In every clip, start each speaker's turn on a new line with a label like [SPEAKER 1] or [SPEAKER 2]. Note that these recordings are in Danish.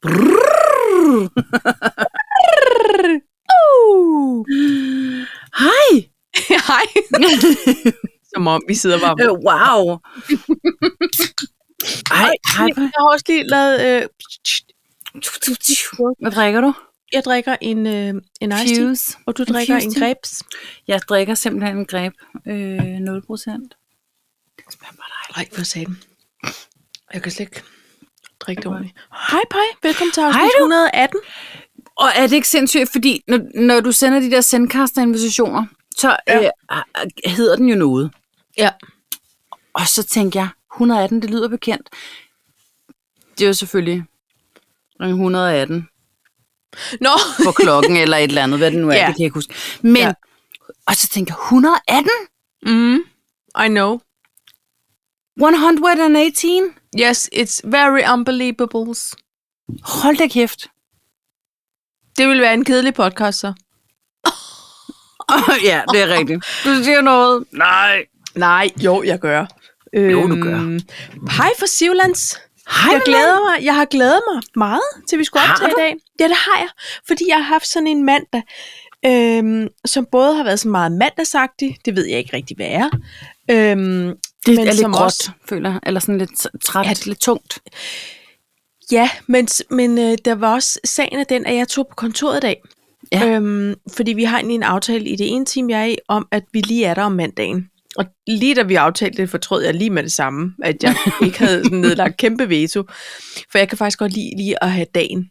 [SPEAKER 1] Brrrr.
[SPEAKER 2] Uh. Hej!
[SPEAKER 1] Hej. Som om vi sidder bare...
[SPEAKER 2] Øh, wow! Ej, hej.
[SPEAKER 1] Jeg har også lige lavet... Øh,
[SPEAKER 2] Hvad drikker du?
[SPEAKER 1] jeg drikker en, øh, en iced tea,
[SPEAKER 2] Fuse.
[SPEAKER 1] og du drikker en
[SPEAKER 2] fuse tea.
[SPEAKER 1] grapes.
[SPEAKER 2] Jeg drikker simpelthen en greb. Øh, 0 procent. Det smager bare dejligt.
[SPEAKER 1] Nej, for satan. Jeg kan slet ikke drikke det ordentligt. Hej, Paj. Velkommen til afsnit
[SPEAKER 2] Hej, du.
[SPEAKER 1] 118.
[SPEAKER 2] Og er det ikke sindssygt, fordi når, når du sender de der sendkaster-invitationer, så
[SPEAKER 1] Ja.
[SPEAKER 2] ja. øh, hedder den jo noget.
[SPEAKER 1] Ja.
[SPEAKER 2] Og så tænkte jeg, 118, det lyder bekendt. Det er jo selvfølgelig ring 118
[SPEAKER 1] Nå.
[SPEAKER 2] på klokken eller et eller andet, hvad det nu er,
[SPEAKER 1] Ja.
[SPEAKER 2] ja. det kan jeg ikke huske. Men,
[SPEAKER 1] Ja.
[SPEAKER 2] ja. og så tænker jeg, 118?
[SPEAKER 1] Mm, I know.
[SPEAKER 2] 118?
[SPEAKER 1] Yes, it's very unbelievable.
[SPEAKER 2] Hold da kæft.
[SPEAKER 1] Det ville være en kedelig podcast, så.
[SPEAKER 2] ja, det er rigtigt. Du siger noget. Nej.
[SPEAKER 1] Nej, jo, jeg gør.
[SPEAKER 2] Jo, du gør.
[SPEAKER 1] Øhm, Hej for Sivlands.
[SPEAKER 2] Hej,
[SPEAKER 1] jeg glæder mig, jeg har glædet mig meget til, vi skulle
[SPEAKER 2] Har
[SPEAKER 1] optage i
[SPEAKER 2] du?
[SPEAKER 1] dag. Ja, det har jeg, fordi jeg har haft sådan en mandag, øhm, som både har været så meget mandagsagtig, det ved jeg ikke rigtig, hvad er. Øhm,
[SPEAKER 2] Det
[SPEAKER 1] men
[SPEAKER 2] er lidt
[SPEAKER 1] som
[SPEAKER 2] gråt,
[SPEAKER 1] også-
[SPEAKER 2] også... føler jeg. Eller sådan lidt træt,
[SPEAKER 1] Ja,
[SPEAKER 2] ja,
[SPEAKER 1] det-
[SPEAKER 2] det... lidt tungt.
[SPEAKER 1] ja, men, s- men øh, der var også sagen af den, at jeg tog på kontoret i dag.
[SPEAKER 2] Ja.
[SPEAKER 1] Øhm, fordi vi har egentlig en aftale i det ene team, jeg er i, om at vi lige er der om mandagen. Og lige da vi aftalte det, fortrød jeg lige med det samme, at jeg ikke havde sådan nedlagt kæmpe veto. For jeg kan faktisk godt lide lige at have dagen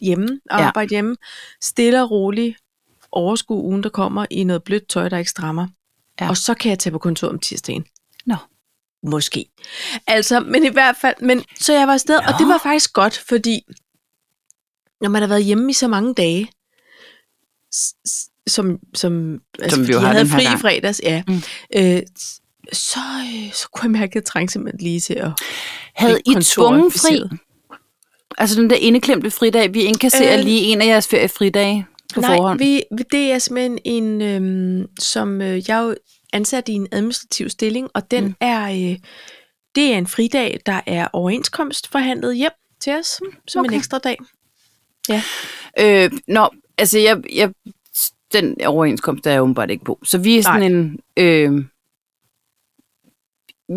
[SPEAKER 1] hjemme, og
[SPEAKER 2] Ja.
[SPEAKER 1] arbejde hjemme. Stille og roligt overskue ugen, der kommer i noget blødt tøj, der ikke strammer. Ja.
[SPEAKER 2] Ja.
[SPEAKER 1] Og så kan jeg tage på kontor om tirsdagen.
[SPEAKER 2] Nå.
[SPEAKER 1] Måske. Altså, men i hvert fald, men, så jeg var afsted, Nå. og det var faktisk godt, fordi når man har været hjemme i så mange dage, s- s- som, som, altså,
[SPEAKER 2] Som vi jo
[SPEAKER 1] fordi
[SPEAKER 2] har
[SPEAKER 1] jeg
[SPEAKER 2] den
[SPEAKER 1] havde
[SPEAKER 2] her
[SPEAKER 1] fri i
[SPEAKER 2] gang.
[SPEAKER 1] fredags, ja, mm.
[SPEAKER 2] Mm.
[SPEAKER 1] øh, s- så, øh, så kunne jeg mærke, at jeg trængte simpelthen lige til at
[SPEAKER 2] Havde I
[SPEAKER 1] kontoret
[SPEAKER 2] tvungen fri?
[SPEAKER 1] inficeret.
[SPEAKER 2] Altså den der indeklemte fridag, vi indkasserer
[SPEAKER 1] Øh,
[SPEAKER 2] øh... lige en af jeres feriefridage på
[SPEAKER 1] Nej,
[SPEAKER 2] forhånd.
[SPEAKER 1] Vi, vi- det er simpelthen en, øhm, som øh, jeg er jo ansat i en administrativ stilling, og den mm. er, øh, det er en fridag, der er overenskomst forhandlet hjem til os, som okay.
[SPEAKER 2] Okay.
[SPEAKER 1] en ekstra dag.
[SPEAKER 2] Øh, nå, altså jeg, jeg, den overenskomst der er jeg åbenbart ikke på. Så vi er sådan Nej. en... Øh,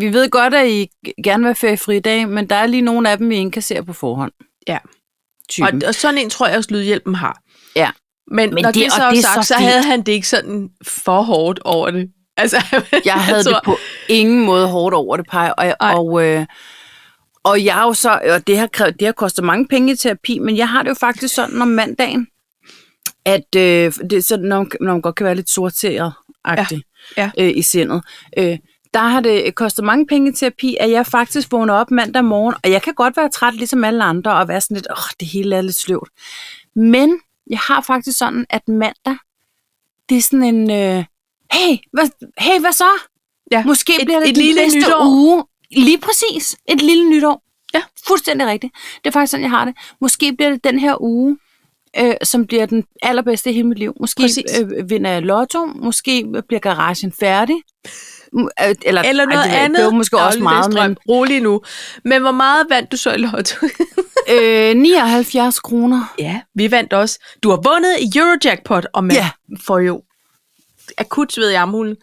[SPEAKER 2] vi ved godt, at I gerne vil have feriefri i dag, men der er lige nogle af dem, vi indkasserer på forhånd.
[SPEAKER 1] Ja.
[SPEAKER 2] Typen.
[SPEAKER 1] Og, og sådan en tror jeg også, Lydhjælpen har.
[SPEAKER 2] Ja.
[SPEAKER 1] Men, Men
[SPEAKER 2] Men
[SPEAKER 1] når det,
[SPEAKER 2] det-
[SPEAKER 1] det så
[SPEAKER 2] og
[SPEAKER 1] er
[SPEAKER 2] det er
[SPEAKER 1] sagt,
[SPEAKER 2] så
[SPEAKER 1] så, så
[SPEAKER 2] fint.
[SPEAKER 1] havde han det ikke sådan for hårdt over det. Altså,
[SPEAKER 2] Jeg havde
[SPEAKER 1] tror-
[SPEAKER 2] det på ingen måde hårdt over det, Paj. Og,
[SPEAKER 1] Ej.
[SPEAKER 2] og, øh, og jeg er jo så, og det har, krævet, det har kostet mange penge i terapi, men jeg har det jo faktisk sådan om mandagen, at øh, det er sådan, når, man, når man godt kan være lidt sorteret ja.
[SPEAKER 1] Ja,
[SPEAKER 2] ja.
[SPEAKER 1] ja.
[SPEAKER 2] øh, i sindet. Øh, der har det kostet mange penge i terapi, at jeg faktisk vågner op mandag morgen, og jeg kan godt være træt ligesom alle andre, og være sådan lidt, åh, det hele er lidt sløvt. Men jeg har faktisk sådan, at mandag, det er sådan en, øh, hey, hvad, hey, hvad så?
[SPEAKER 1] Ja,
[SPEAKER 2] Måske
[SPEAKER 1] et-
[SPEAKER 2] et, bliver det
[SPEAKER 1] et
[SPEAKER 2] den
[SPEAKER 1] lille
[SPEAKER 2] bedste
[SPEAKER 1] nytår.
[SPEAKER 2] uge. Lige præcis. Et lille nytår.
[SPEAKER 1] Ja.
[SPEAKER 2] Fuldstændig rigtigt. Det er faktisk sådan, jeg har det. Måske bliver det den her uge, øh, som bliver den allerbedste i hele mit liv. Måske
[SPEAKER 1] Præcis.
[SPEAKER 2] øh, vinder jeg lotto. Måske bliver garagen færdig. M- øh, Eller,
[SPEAKER 1] Eller noget
[SPEAKER 2] ej, det, ved jeg ikke.
[SPEAKER 1] andet.
[SPEAKER 2] Det var måske også meget, men
[SPEAKER 1] Rolig nu. Men hvor meget vandt du så i lotto?
[SPEAKER 2] øh, 79 kroner.
[SPEAKER 1] Ja, vi vandt også. Du har vundet i Eurojackpot, og man ja.
[SPEAKER 2] Ja.
[SPEAKER 1] får jo akut sved i armhulen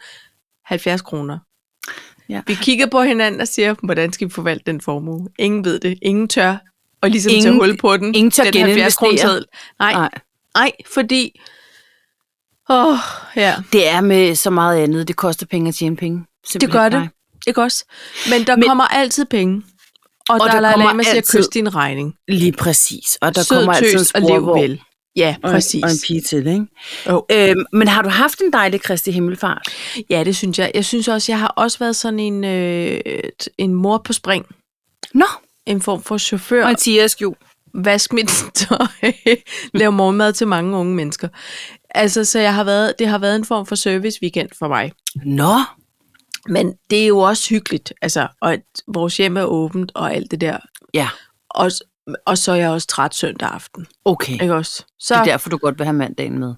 [SPEAKER 1] 70 kroner. Ja.
[SPEAKER 2] Ja.
[SPEAKER 1] Vi kigger på hinanden og siger, hvordan skal vi forvalte den formue? Ingen ved det. Ingen tør. Og ligesom ingen, tage
[SPEAKER 2] Ingen-
[SPEAKER 1] hul på den.
[SPEAKER 2] ingen tør
[SPEAKER 1] den
[SPEAKER 2] geninvestere.
[SPEAKER 1] 70 kroner seddel. Nej, nej,
[SPEAKER 2] Nej.
[SPEAKER 1] nej, fordi... Åh, oh, ja.
[SPEAKER 2] Det er med så meget andet. Det koster penge at tjene penge. Simpelthen.
[SPEAKER 1] Det gør det.
[SPEAKER 2] Nej.
[SPEAKER 1] Ikke også? Men der Men,
[SPEAKER 2] Men-
[SPEAKER 1] kommer altid penge. Og, og der,
[SPEAKER 2] der
[SPEAKER 1] der
[SPEAKER 2] kommer
[SPEAKER 1] kommer siger,
[SPEAKER 2] altid-
[SPEAKER 1] kys din regning.
[SPEAKER 2] Lige præcis. Og der
[SPEAKER 1] Sød,
[SPEAKER 2] kommer altid en
[SPEAKER 1] tøs og lev
[SPEAKER 2] sporvogn.
[SPEAKER 1] vel. Ja,
[SPEAKER 2] Og en-
[SPEAKER 1] præcis. Oh.
[SPEAKER 2] Og en pige til, ikke?
[SPEAKER 1] Jo.
[SPEAKER 2] Øhm, men har du haft en dejlig Kristi Himmelfart?
[SPEAKER 1] Ja, det synes jeg. Jeg synes også, jeg har også været sådan en, øh, t- en mor på spring.
[SPEAKER 2] Nå,
[SPEAKER 1] En form for chauffør.
[SPEAKER 2] og Mathias jo.
[SPEAKER 1] Vask mit tøj. Lav morgenmad til mange unge mennesker. Altså, så jeg har været, det har været en form for service weekend for mig.
[SPEAKER 2] Nå,
[SPEAKER 1] Men det er jo også hyggeligt. Altså, og at vores hjem er åbent og alt det der.
[SPEAKER 2] ja,
[SPEAKER 1] Og, s- og så er jeg også træt søndag aften.
[SPEAKER 2] okay.
[SPEAKER 1] Ikke også? Så,
[SPEAKER 2] Det er derfor, du godt vil have mandagen med.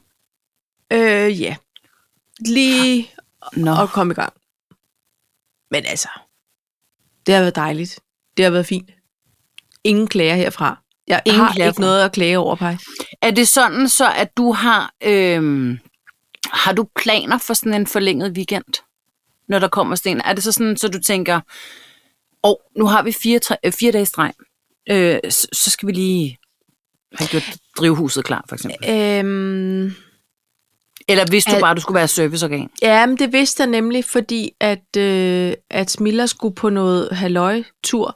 [SPEAKER 1] øh, ja. Lige
[SPEAKER 2] Nå,
[SPEAKER 1] og komme i gang. Men altså, det har været dejligt. Det har været fint. Ingen klager herfra. Jeg
[SPEAKER 2] Ingen
[SPEAKER 1] har
[SPEAKER 2] klager
[SPEAKER 1] ikke noget at klage over, Paj.
[SPEAKER 2] Er det sådan så, at du har, øhm, har du planer for sådan en forlænget weekend, når der kommer sten? Er det så sådan, så du tænker, åh, oh, nu har vi fire, tre, øh, fire dages streg, øh, så, så skal vi lige have gjort drivhuset klar, for eksempel.
[SPEAKER 1] Øhm,
[SPEAKER 2] Eller hvis du
[SPEAKER 1] Al-
[SPEAKER 2] bare, du skulle være serviceorgan.
[SPEAKER 1] ja, men det vidste jeg nemlig, fordi at, øh, at Smilla skulle på noget halløj-tur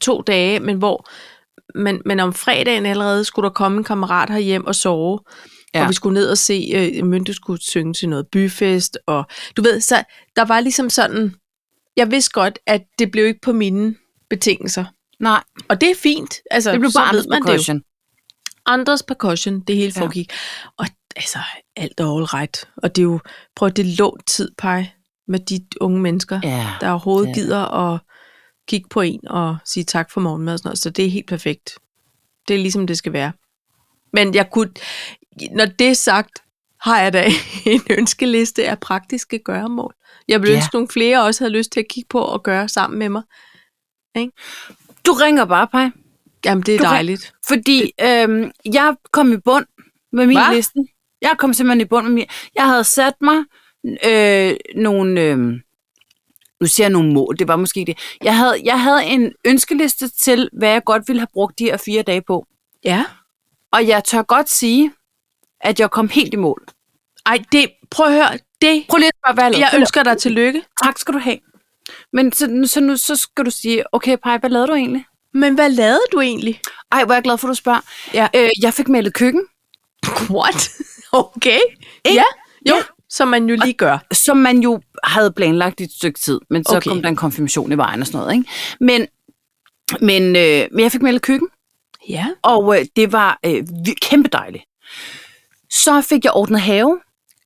[SPEAKER 1] to dage, men hvor men, men om fredagen allerede skulle der komme en kammerat herhjem og sove, ja.
[SPEAKER 2] Ja.
[SPEAKER 1] og vi skulle ned og se, øh, Mynte skulle synge til noget byfest, og du ved, så der var ligesom sådan, jeg vidste godt, at det blev ikke på mine betingelser.
[SPEAKER 2] Nej,
[SPEAKER 1] Og det er fint, altså,
[SPEAKER 2] det blev
[SPEAKER 1] så
[SPEAKER 2] bare
[SPEAKER 1] ved
[SPEAKER 2] andres
[SPEAKER 1] man det jo.
[SPEAKER 2] percussion.
[SPEAKER 1] andres percussion, det hele
[SPEAKER 2] Ja.
[SPEAKER 1] foregik. Ja. Og altså, alt er all right. Og det er jo, prøv at det lå tid, Paj, med de unge mennesker, ja.
[SPEAKER 2] Ja.
[SPEAKER 1] der overhovedet
[SPEAKER 2] Ja.
[SPEAKER 1] ja. gider at kigge på en og sige tak for morgenmad og sådan noget. Så det er helt perfekt. Det er ligesom det skal være. Men jeg kunne, når det er sagt, har jeg da en ønskeliste af praktiske gøremål. Jeg ville
[SPEAKER 2] Ja.
[SPEAKER 1] ja. ønske, nogle flere også havde lyst til at kigge på og gøre sammen med mig.
[SPEAKER 2] Du ringer bare, Paj.
[SPEAKER 1] Jamen, det er
[SPEAKER 2] Du kan-
[SPEAKER 1] dejligt.
[SPEAKER 2] Fordi øhm, jeg kom i bund med min Hva?
[SPEAKER 1] Hva?
[SPEAKER 2] liste. Jeg kom simpelthen i bund med min... Jeg havde sat mig øh, nogle... Øh, nu siger jeg nogle mål, det var måske ikke det. Jeg havde, jeg havde en ønskeliste til, hvad jeg godt ville have brugt de her fire dage på.
[SPEAKER 1] Ja.
[SPEAKER 2] Og jeg tør godt sige, at jeg kom helt i mål.
[SPEAKER 1] Ej, det, prøv at høre, det,
[SPEAKER 2] Prøv lige at spørge, hvad jeg lavede.
[SPEAKER 1] jeg ønsker dig tillykke.
[SPEAKER 2] Tak skal du have. Men så, så nu så skal du sige, okay, Paj, hvad lavede du egentlig?
[SPEAKER 1] Men hvad lavede du egentlig?
[SPEAKER 2] Ej, hvor er jeg glad for, du spørger.
[SPEAKER 1] Ja.
[SPEAKER 2] Øh, jeg fik malet køkken.
[SPEAKER 1] What? Okay.
[SPEAKER 2] Ikke?
[SPEAKER 1] Ja, jo, ja. som man jo lige gør.
[SPEAKER 2] som man jo havde planlagt i et stykke tid, men så okay.
[SPEAKER 1] Okay.
[SPEAKER 2] kom der en konfirmation i vejen og sådan noget. Ikke? Men, men, øh, men jeg fik meldt køkken,
[SPEAKER 1] Ja.
[SPEAKER 2] og øh, det var øh, vi- kæmpe dejligt. Så fik jeg ordnet have,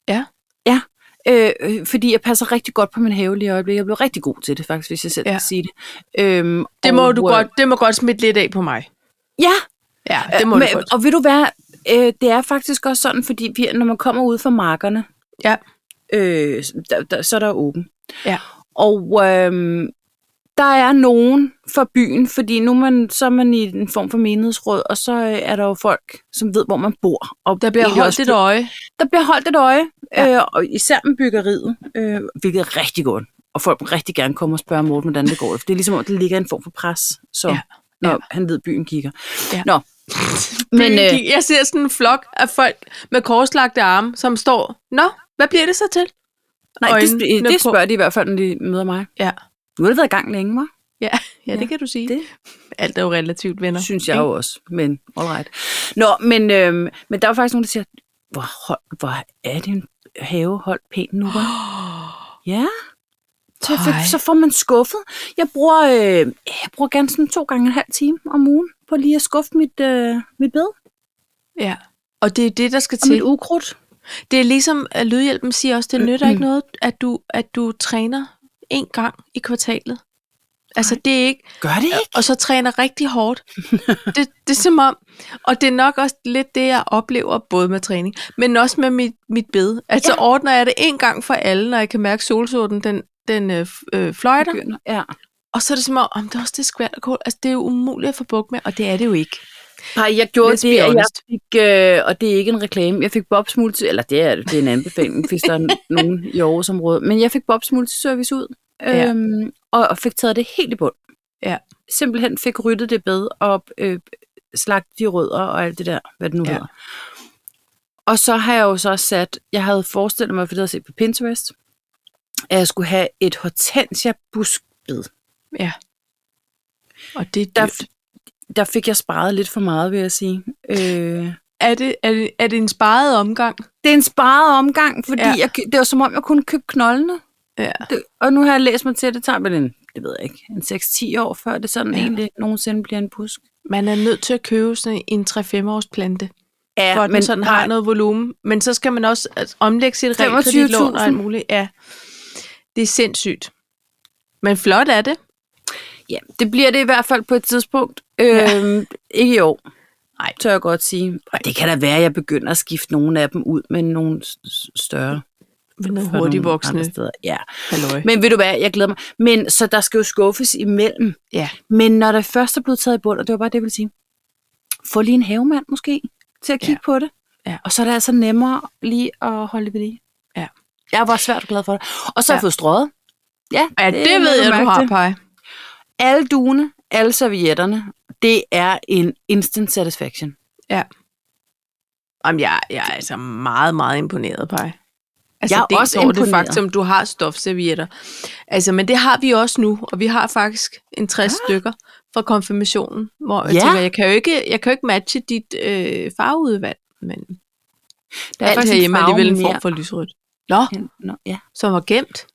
[SPEAKER 1] Ja.
[SPEAKER 2] ja, øh, øh, fordi jeg passer rigtig godt på min have lige i øjeblikket. Jeg blev rigtig god til det faktisk, hvis jeg selv
[SPEAKER 1] Ja.
[SPEAKER 2] ja. kan sige det. Øhm,
[SPEAKER 1] Det må du
[SPEAKER 2] øh,
[SPEAKER 1] godt, det må godt smitte lidt af på mig.
[SPEAKER 2] Ja,
[SPEAKER 1] Ja, det må
[SPEAKER 2] men,
[SPEAKER 1] du godt.
[SPEAKER 2] og ved du hvad, øh, det er faktisk også sådan, fordi vi, når man kommer ud fra markerne,
[SPEAKER 1] Ja.
[SPEAKER 2] øh, der, der, så er der åben.
[SPEAKER 1] Ja.
[SPEAKER 2] Og øhm, der er nogen fra byen, fordi nu er man, så er man i en form for menighedsråd, og så øh, er der jo folk, som ved, hvor man bor. Og
[SPEAKER 1] Der bliver
[SPEAKER 2] egentlig
[SPEAKER 1] holdt
[SPEAKER 2] også-
[SPEAKER 1] et øje.
[SPEAKER 2] Der bliver holdt et øje,
[SPEAKER 1] Ja.
[SPEAKER 2] øh, og især med byggeriet, øh, hvilket er rigtig godt. Og folk vil rigtig gerne komme og spørge Morten, hvordan det går. For det er ligesom, om der ligger en form for pres, så,
[SPEAKER 1] Ja.
[SPEAKER 2] ja. når
[SPEAKER 1] Ja.
[SPEAKER 2] han ved, at byen kigger.
[SPEAKER 1] Ja.
[SPEAKER 2] Nå. Men,
[SPEAKER 1] Men,
[SPEAKER 2] øh,
[SPEAKER 1] øh, jeg ser sådan en flok af folk med korslagte arme, som står, Nå, hvad bliver det så til?
[SPEAKER 2] Nej, det,
[SPEAKER 1] øjnene
[SPEAKER 2] sp- det
[SPEAKER 1] på.
[SPEAKER 2] spørger de i hvert fald, når de møder mig.
[SPEAKER 1] Ja.
[SPEAKER 2] Nu har det været i gang længe, hva'?
[SPEAKER 1] Ja, ja det kan du sige.
[SPEAKER 2] det-
[SPEAKER 1] Alt er jo relativt, venner.
[SPEAKER 2] Synes jeg jo også, men all right. Nå, men, øhm, men der var faktisk nogen, der siger, hvor, hold, hvor er din have holdt pænt nu, hva'? Ja. Så, jeg
[SPEAKER 1] Ej.
[SPEAKER 2] fik, så får man skuffet. Jeg bruger, øh, jeg bruger gerne sådan to gange en halv time om ugen på lige at skuffe mit, øh, mit bed
[SPEAKER 1] Ja. Og det er det, der skal
[SPEAKER 2] og mit
[SPEAKER 1] til.
[SPEAKER 2] ukrudt.
[SPEAKER 1] Det er ligesom, at Lydhjælpen siger også, det nytter ikke noget, at du, at du træner en gang i kvartalet. Altså, det er ikke,
[SPEAKER 2] Gør det ikke?
[SPEAKER 1] og så træner rigtig hårdt. Det, det er som om, og det er nok også lidt det, jeg oplever, både med træning, men også med mit, mit bed. Altså ja. ordner jeg det en gang for alle, når jeg kan mærke solsorten, den, den øh, f- øh, fløjter, okay.
[SPEAKER 2] Begynder. Ja.
[SPEAKER 1] og så er det som om, om det er også det skvært og kål. Altså det er jo umuligt at få bukt med, og det er det jo ikke.
[SPEAKER 2] Nej, jeg gjorde
[SPEAKER 1] Let's be
[SPEAKER 2] det, at jeg
[SPEAKER 1] honest.
[SPEAKER 2] fik, øh, og det er ikke en reklame, jeg fik Bobs multi, eller det er, det er en anbefaling, hvis der er nogen i Aarhus område, men jeg fik Bobs multiservice ud,
[SPEAKER 1] Ja.
[SPEAKER 2] øhm, og, og fik taget det helt i bund.
[SPEAKER 1] Ja.
[SPEAKER 2] Simpelthen fik ryddet det bed og øh, slagt de rødder og alt det der, hvad det nu
[SPEAKER 1] Ja.
[SPEAKER 2] ja. hedder. Og så har jeg jo så sat, jeg havde forestillet mig, for det havde jeg set på Pinterest, at jeg skulle have et hortensia buskbed.
[SPEAKER 1] Ja. Og det er
[SPEAKER 2] Der,
[SPEAKER 1] dyrt.
[SPEAKER 2] der fik jeg sparet lidt for meget, vil jeg sige. Øh,
[SPEAKER 1] Er det, er, det, er det en sparet omgang?
[SPEAKER 2] Det er en sparet omgang, fordi
[SPEAKER 1] Ja.
[SPEAKER 2] ja. jeg, det var som om, jeg kunne købe knoldene.
[SPEAKER 1] Ja.
[SPEAKER 2] Det, og nu har jeg læst mig til, at det tager vel en, det ved jeg ikke, en 6-10 år, før det sådan
[SPEAKER 1] Ja.
[SPEAKER 2] ja. egentlig nogensinde bliver en busk.
[SPEAKER 1] Man er nødt til at købe sådan en 3-5 års plante,
[SPEAKER 2] Ja,
[SPEAKER 1] for at den sådan har noget volumen. Men så skal man også altså, omlægge
[SPEAKER 2] 25.000.
[SPEAKER 1] sit realkreditlån og alt muligt. Ja. Det er sindssygt. Men flot er det.
[SPEAKER 2] Ja, det bliver det i hvert fald på et tidspunkt. Ja. Øhm, ikke i år.
[SPEAKER 1] Nej.
[SPEAKER 2] Tør jeg godt sige. Og det kan da være, at jeg begynder at skifte nogle af dem ud med nogle s- s- større.
[SPEAKER 1] Med noget
[SPEAKER 2] for nogle
[SPEAKER 1] hurtigt
[SPEAKER 2] andre
[SPEAKER 1] voksne.
[SPEAKER 2] Steder. Ja.
[SPEAKER 1] Halløj.
[SPEAKER 2] Men ved du hvad, jeg glæder mig. Men så der skal jo skuffes imellem.
[SPEAKER 1] Ja.
[SPEAKER 2] Men når der først er blevet taget i bund, og det var bare det, jeg ville sige, Få lige en havemand måske til at kigge
[SPEAKER 1] Ja.
[SPEAKER 2] ja. på det.
[SPEAKER 1] Ja.
[SPEAKER 2] Og så er det altså nemmere lige at holde ved lige.
[SPEAKER 1] Ja.
[SPEAKER 2] Jeg var svært glad for det. Og så har
[SPEAKER 1] Ja.
[SPEAKER 2] jeg fået strøget. Ja,
[SPEAKER 1] Ja, det, det ved
[SPEAKER 2] lagde
[SPEAKER 1] jeg, du
[SPEAKER 2] mærke
[SPEAKER 1] har,
[SPEAKER 2] til.
[SPEAKER 1] Paj.
[SPEAKER 2] Alle duene, alle servietterne, det er en instant satisfaction.
[SPEAKER 1] Jamen, jeg, jeg er altså meget, meget imponeret, Paj. Altså,
[SPEAKER 2] Jeg er
[SPEAKER 1] dels
[SPEAKER 2] også
[SPEAKER 1] over det
[SPEAKER 2] imponeret.
[SPEAKER 1] faktum, du har stofservietter. Altså, men det har vi også nu, og vi har faktisk en 60 ah. stykker fra konfirmationen, hvor jeg
[SPEAKER 2] Ja.
[SPEAKER 1] tænker, jeg kan jo ikke, jeg kan jo ikke matche dit øh, farveudvalg, men
[SPEAKER 2] Der
[SPEAKER 1] alt
[SPEAKER 2] faktisk en
[SPEAKER 1] herhjemme er
[SPEAKER 2] farve
[SPEAKER 1] alligevel en
[SPEAKER 2] mere.
[SPEAKER 1] form for lysrødt. Nå,
[SPEAKER 2] Nå, ja.
[SPEAKER 1] som var gemt.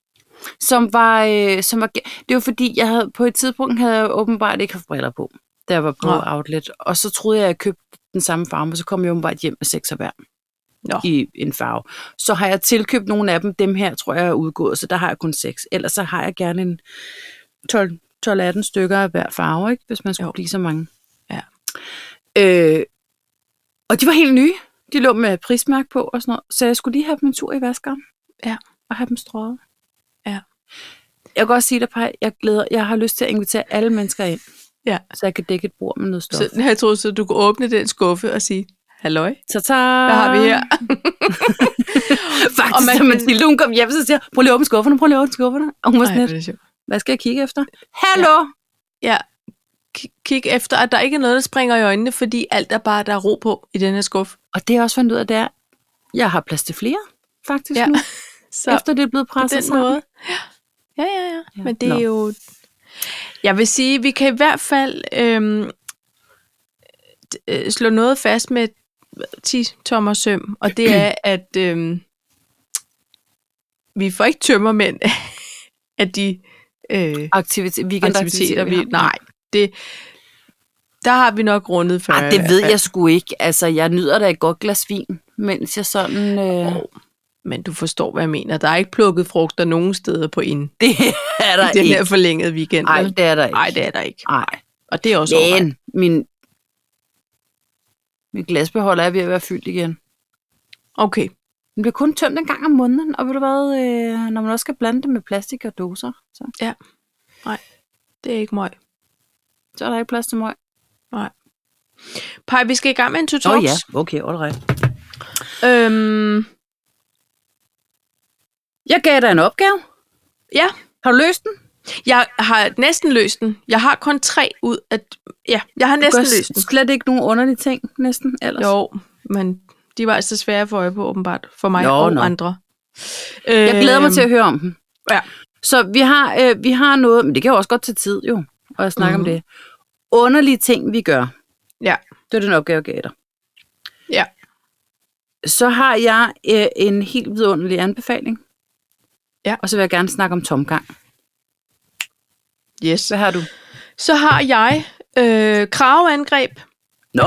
[SPEAKER 2] som var, øh, som var, ge- det var fordi, jeg havde, på et tidspunkt havde jeg åbenbart ikke haft briller på, da jeg var på
[SPEAKER 1] Nej.
[SPEAKER 2] Outlet. Og så troede jeg, at jeg købte den samme farve, men så kom jeg åbenbart hjem med seks af hver
[SPEAKER 1] Nå.
[SPEAKER 2] i en farve. Så har jeg tilkøbt nogle af dem. Dem her tror jeg er udgået, så der har jeg kun seks. Ellers så har jeg gerne en 12 12-18 stykker af hver farve, ikke? hvis man skulle
[SPEAKER 1] Jo.
[SPEAKER 2] jo. blive så mange.
[SPEAKER 1] Ja.
[SPEAKER 2] Øh, og de var helt nye. De lå med prismærk på og sådan noget. Så jeg skulle lige have dem en tur i vaskeren.
[SPEAKER 1] Ja.
[SPEAKER 2] Og have dem strøget.
[SPEAKER 1] Ja.
[SPEAKER 2] Jeg kan også sige dig, Paj, jeg, glæder, jeg har lyst til at invitere alle mennesker ind,
[SPEAKER 1] Ja.
[SPEAKER 2] så jeg kan dække et bord med noget stof.
[SPEAKER 1] Så jeg troede, så du kunne åbne den skuffe og sige, halløj,
[SPEAKER 2] Så ta
[SPEAKER 1] hvad har vi her?
[SPEAKER 2] Faktisk,
[SPEAKER 1] Og
[SPEAKER 2] og man,
[SPEAKER 1] man-
[SPEAKER 2] da Mathilde, hun kom hjem, så siger jeg, prøv lige at åbne skufferne, prøv lige at åbne skufferne. Og hun var
[SPEAKER 1] Ej,
[SPEAKER 2] sådan
[SPEAKER 1] hvor er
[SPEAKER 2] lidt,
[SPEAKER 1] det sjovt.
[SPEAKER 2] hvad skal jeg kigge efter? Hallo! Ja.
[SPEAKER 1] Ja, K- kig efter, at der ikke er noget, der springer i øjnene, fordi alt er bare, der er ro på i den her skuffe.
[SPEAKER 2] Og det jeg også fandt ud af, det er, jeg har plads til flere, faktisk
[SPEAKER 1] Ja.
[SPEAKER 2] ja. nu,
[SPEAKER 1] Så
[SPEAKER 2] efter det er blevet
[SPEAKER 1] på
[SPEAKER 2] presset
[SPEAKER 1] den
[SPEAKER 2] sammen.
[SPEAKER 1] måde. Ja, ja, ja. ja.
[SPEAKER 2] Ja.
[SPEAKER 1] Men det er
[SPEAKER 2] Nå.
[SPEAKER 1] jo... Jeg vil sige, vi kan i hvert fald øhm, d- øh, slå noget fast med 10 tommer søm, og det er, at øhm, vi får ikke tømmermænd af de øh,
[SPEAKER 2] Aktivitet,
[SPEAKER 1] aktiviteter,
[SPEAKER 2] weekendaktiviteter,
[SPEAKER 1] vi...
[SPEAKER 2] har.
[SPEAKER 1] Nej, det, der har vi nok rundet øh, 40.
[SPEAKER 2] Ej,
[SPEAKER 1] i hvert
[SPEAKER 2] det ved
[SPEAKER 1] fald.
[SPEAKER 2] jeg sgu ikke. Altså, jeg nyder da et godt glas vin, mens jeg sådan... Øh,
[SPEAKER 1] Men du forstår, hvad jeg mener. Der er ikke plukket frugter nogen steder på ind.
[SPEAKER 2] det er der
[SPEAKER 1] I den her
[SPEAKER 2] ikke.
[SPEAKER 1] forlængede weekend.
[SPEAKER 2] Nej, det er der ikke.
[SPEAKER 1] Nej, det er der ikke.
[SPEAKER 2] Ej.
[SPEAKER 1] Og det er også overvej.
[SPEAKER 2] Men min, min glasbeholder er ved at være fyldt igen.
[SPEAKER 1] Okay.
[SPEAKER 2] Den bliver kun tømt en gang om måneden, og ved du hvad, øh, når man også skal blande det med plastik og doser, så,
[SPEAKER 1] Det er ikke møg.
[SPEAKER 2] så er der ikke plads til mig.
[SPEAKER 1] Pej, vi skal i gang med en to talks.
[SPEAKER 2] okay, all right.
[SPEAKER 1] Øhm,
[SPEAKER 2] Jeg gav dig en opgave.
[SPEAKER 1] ja,
[SPEAKER 2] Har du løst den?
[SPEAKER 1] jeg har næsten løst den. Jeg har kun tre ud af... Ja, jeg har næsten
[SPEAKER 2] Gør
[SPEAKER 1] løst den.
[SPEAKER 2] slet ikke nogen underlige ting, næsten, ellers.
[SPEAKER 1] Jo, men de var altså svære for øje på, åbenbart. For mig
[SPEAKER 2] Nå,
[SPEAKER 1] og
[SPEAKER 2] nå.
[SPEAKER 1] andre. Øhm,
[SPEAKER 2] Jeg glæder mig til at høre om dem.
[SPEAKER 1] Ja.
[SPEAKER 2] Så vi har, øh, vi har noget, men det kan jo også godt tage tid jo, at snakke mm.
[SPEAKER 1] Mhm.
[SPEAKER 2] om det. Underlige ting, vi gør.
[SPEAKER 1] Ja.
[SPEAKER 2] Det er den opgave, jeg gav dig.
[SPEAKER 1] Ja.
[SPEAKER 2] Så har jeg øh, en helt vidunderlig anbefaling.
[SPEAKER 1] Ja.
[SPEAKER 2] Og så vil jeg gerne snakke om tomgang.
[SPEAKER 1] Yes.
[SPEAKER 2] Hvad har du?
[SPEAKER 1] Så har jeg øh, kraveangreb.
[SPEAKER 2] Nå.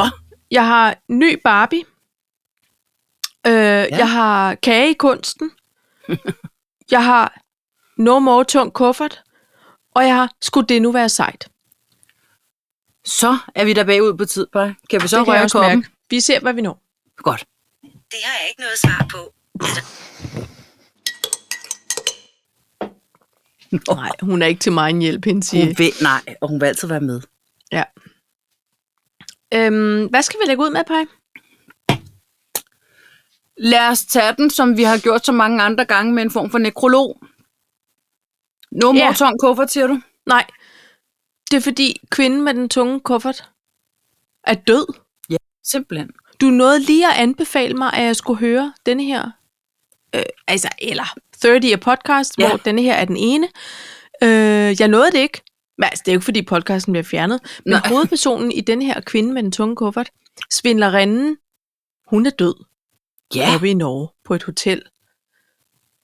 [SPEAKER 1] Jeg har ny Barbie. Øh, ja. Jeg har kage i kunsten. jeg har no more tung kuffert. Og jeg har, skulle det nu være sejt?
[SPEAKER 2] Så er vi der bagud på tid, bare. Kan vi så
[SPEAKER 1] det kan jeg
[SPEAKER 2] røre
[SPEAKER 1] også
[SPEAKER 2] koppen?
[SPEAKER 1] mærke. Vi ser, hvad vi når.
[SPEAKER 2] Godt.
[SPEAKER 3] Det har jeg ikke noget svar på.
[SPEAKER 1] Nej, hun er ikke til mig en hjælp, hende
[SPEAKER 2] Hun
[SPEAKER 1] siger.
[SPEAKER 2] vil, nej, og hun vil altid være med.
[SPEAKER 1] Ja. Øhm, hvad skal vi lægge ud med, Paj?
[SPEAKER 2] Lad os tage den, som vi har gjort så mange andre gange, med en form for nekrolog. No more
[SPEAKER 1] Ja.
[SPEAKER 2] ja. tung kuffert, siger du?
[SPEAKER 1] Nej, det er fordi kvinden med den tunge kuffert er død.
[SPEAKER 2] Simpelthen.
[SPEAKER 1] Du nåede lige at anbefale mig, at jeg skulle høre denne her, øh, altså, eller 30 er podcast, ja.
[SPEAKER 2] Ja.
[SPEAKER 1] hvor denne her er den ene. Øh, jeg nåede det ikke. Men altså, det er jo ikke, fordi podcasten bliver fjernet. Men Nej.
[SPEAKER 2] Nej.
[SPEAKER 1] hovedpersonen i den her kvinde med den tunge kuffert, svindlerinden, hun er død
[SPEAKER 2] Ja.
[SPEAKER 1] ja. oppe i Norge på et hotel.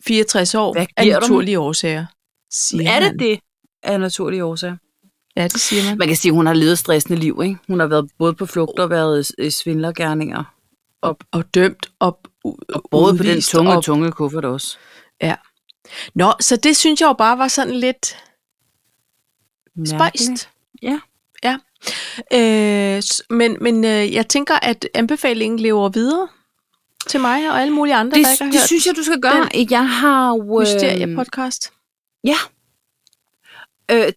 [SPEAKER 1] 64 år
[SPEAKER 2] Hvad
[SPEAKER 1] af
[SPEAKER 2] giver du
[SPEAKER 1] naturlige årsager, siger
[SPEAKER 2] Er
[SPEAKER 1] man.
[SPEAKER 2] det det? Af naturlige årsager.
[SPEAKER 1] Ja, det siger man.
[SPEAKER 2] Man kan sige, at hun har levet et stressende liv, ikke? Hun har været både på flugt og været øh, svindlergærninger.
[SPEAKER 1] Og dømt og, og
[SPEAKER 2] Både på den tunge og tunge kuffert også.
[SPEAKER 1] Ja. Nå, så det synes jeg jo bare var sådan lidt spøjst.
[SPEAKER 2] Ja.
[SPEAKER 1] Ja. Øh, s- men men øh, jeg tænker, at anbefalingen lever videre til mig og alle mulige andre,
[SPEAKER 2] Det,
[SPEAKER 1] der ikke har
[SPEAKER 2] det
[SPEAKER 1] hørt
[SPEAKER 2] synes jeg, du skal gøre. Jeg har jo... Øh,
[SPEAKER 1] Mysterie-podcast.
[SPEAKER 2] øh,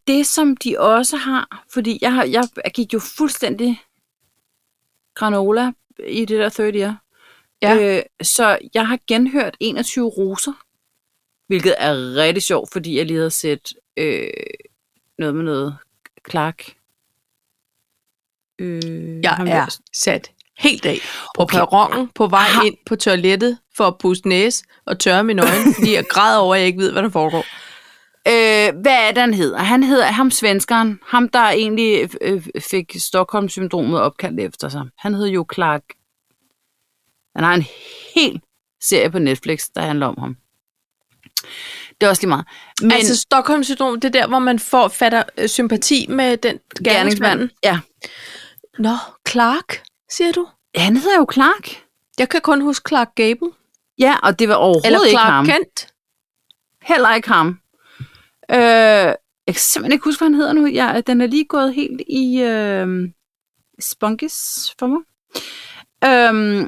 [SPEAKER 2] det, som de også har... Fordi jeg, har, jeg gik jo fuldstændig granola i det der 30 year.
[SPEAKER 1] Ja.
[SPEAKER 2] Øh, så jeg har genhørt 21 roser, hvilket er rigtig sjovt, fordi jeg lige havde set øh, noget med noget Clark. Øh,
[SPEAKER 1] Jeg
[SPEAKER 2] ham der-
[SPEAKER 1] er sat helt af på
[SPEAKER 2] Okay.
[SPEAKER 1] okay. perronen på vej
[SPEAKER 2] Har-
[SPEAKER 1] ind på toilettet for at puste næse og tørre min øjne, fordi jeg græder over, at jeg ikke ved, hvad der foregår.
[SPEAKER 2] Øh, hvad er det, han hedder? Han hedder ham svenskeren. Ham, der egentlig øh, fik Stockholm-syndromet opkaldt efter sig. Han hedder jo Clark. Han har en hel serie på Netflix, der handler om ham. Det er også lige meget. Men
[SPEAKER 1] Men, altså Stockholm-syndrom, det er der, hvor man får, fatter øh, sympati med den gerningsmanden.
[SPEAKER 2] Ja.
[SPEAKER 1] Nå, Clark, siger du?
[SPEAKER 2] Han hedder jo Clark.
[SPEAKER 1] Jeg kan kun huske Clark Gable.
[SPEAKER 2] Ja, og det var overhovedet
[SPEAKER 1] Eller
[SPEAKER 2] ikke ham.
[SPEAKER 1] Clark Kent.
[SPEAKER 2] Heller ikke ham. Øh, jeg kan simpelthen ikke huske, hvad han hedder nu. Jeg, den er lige gået helt i øh, spunkes for mig. Øh,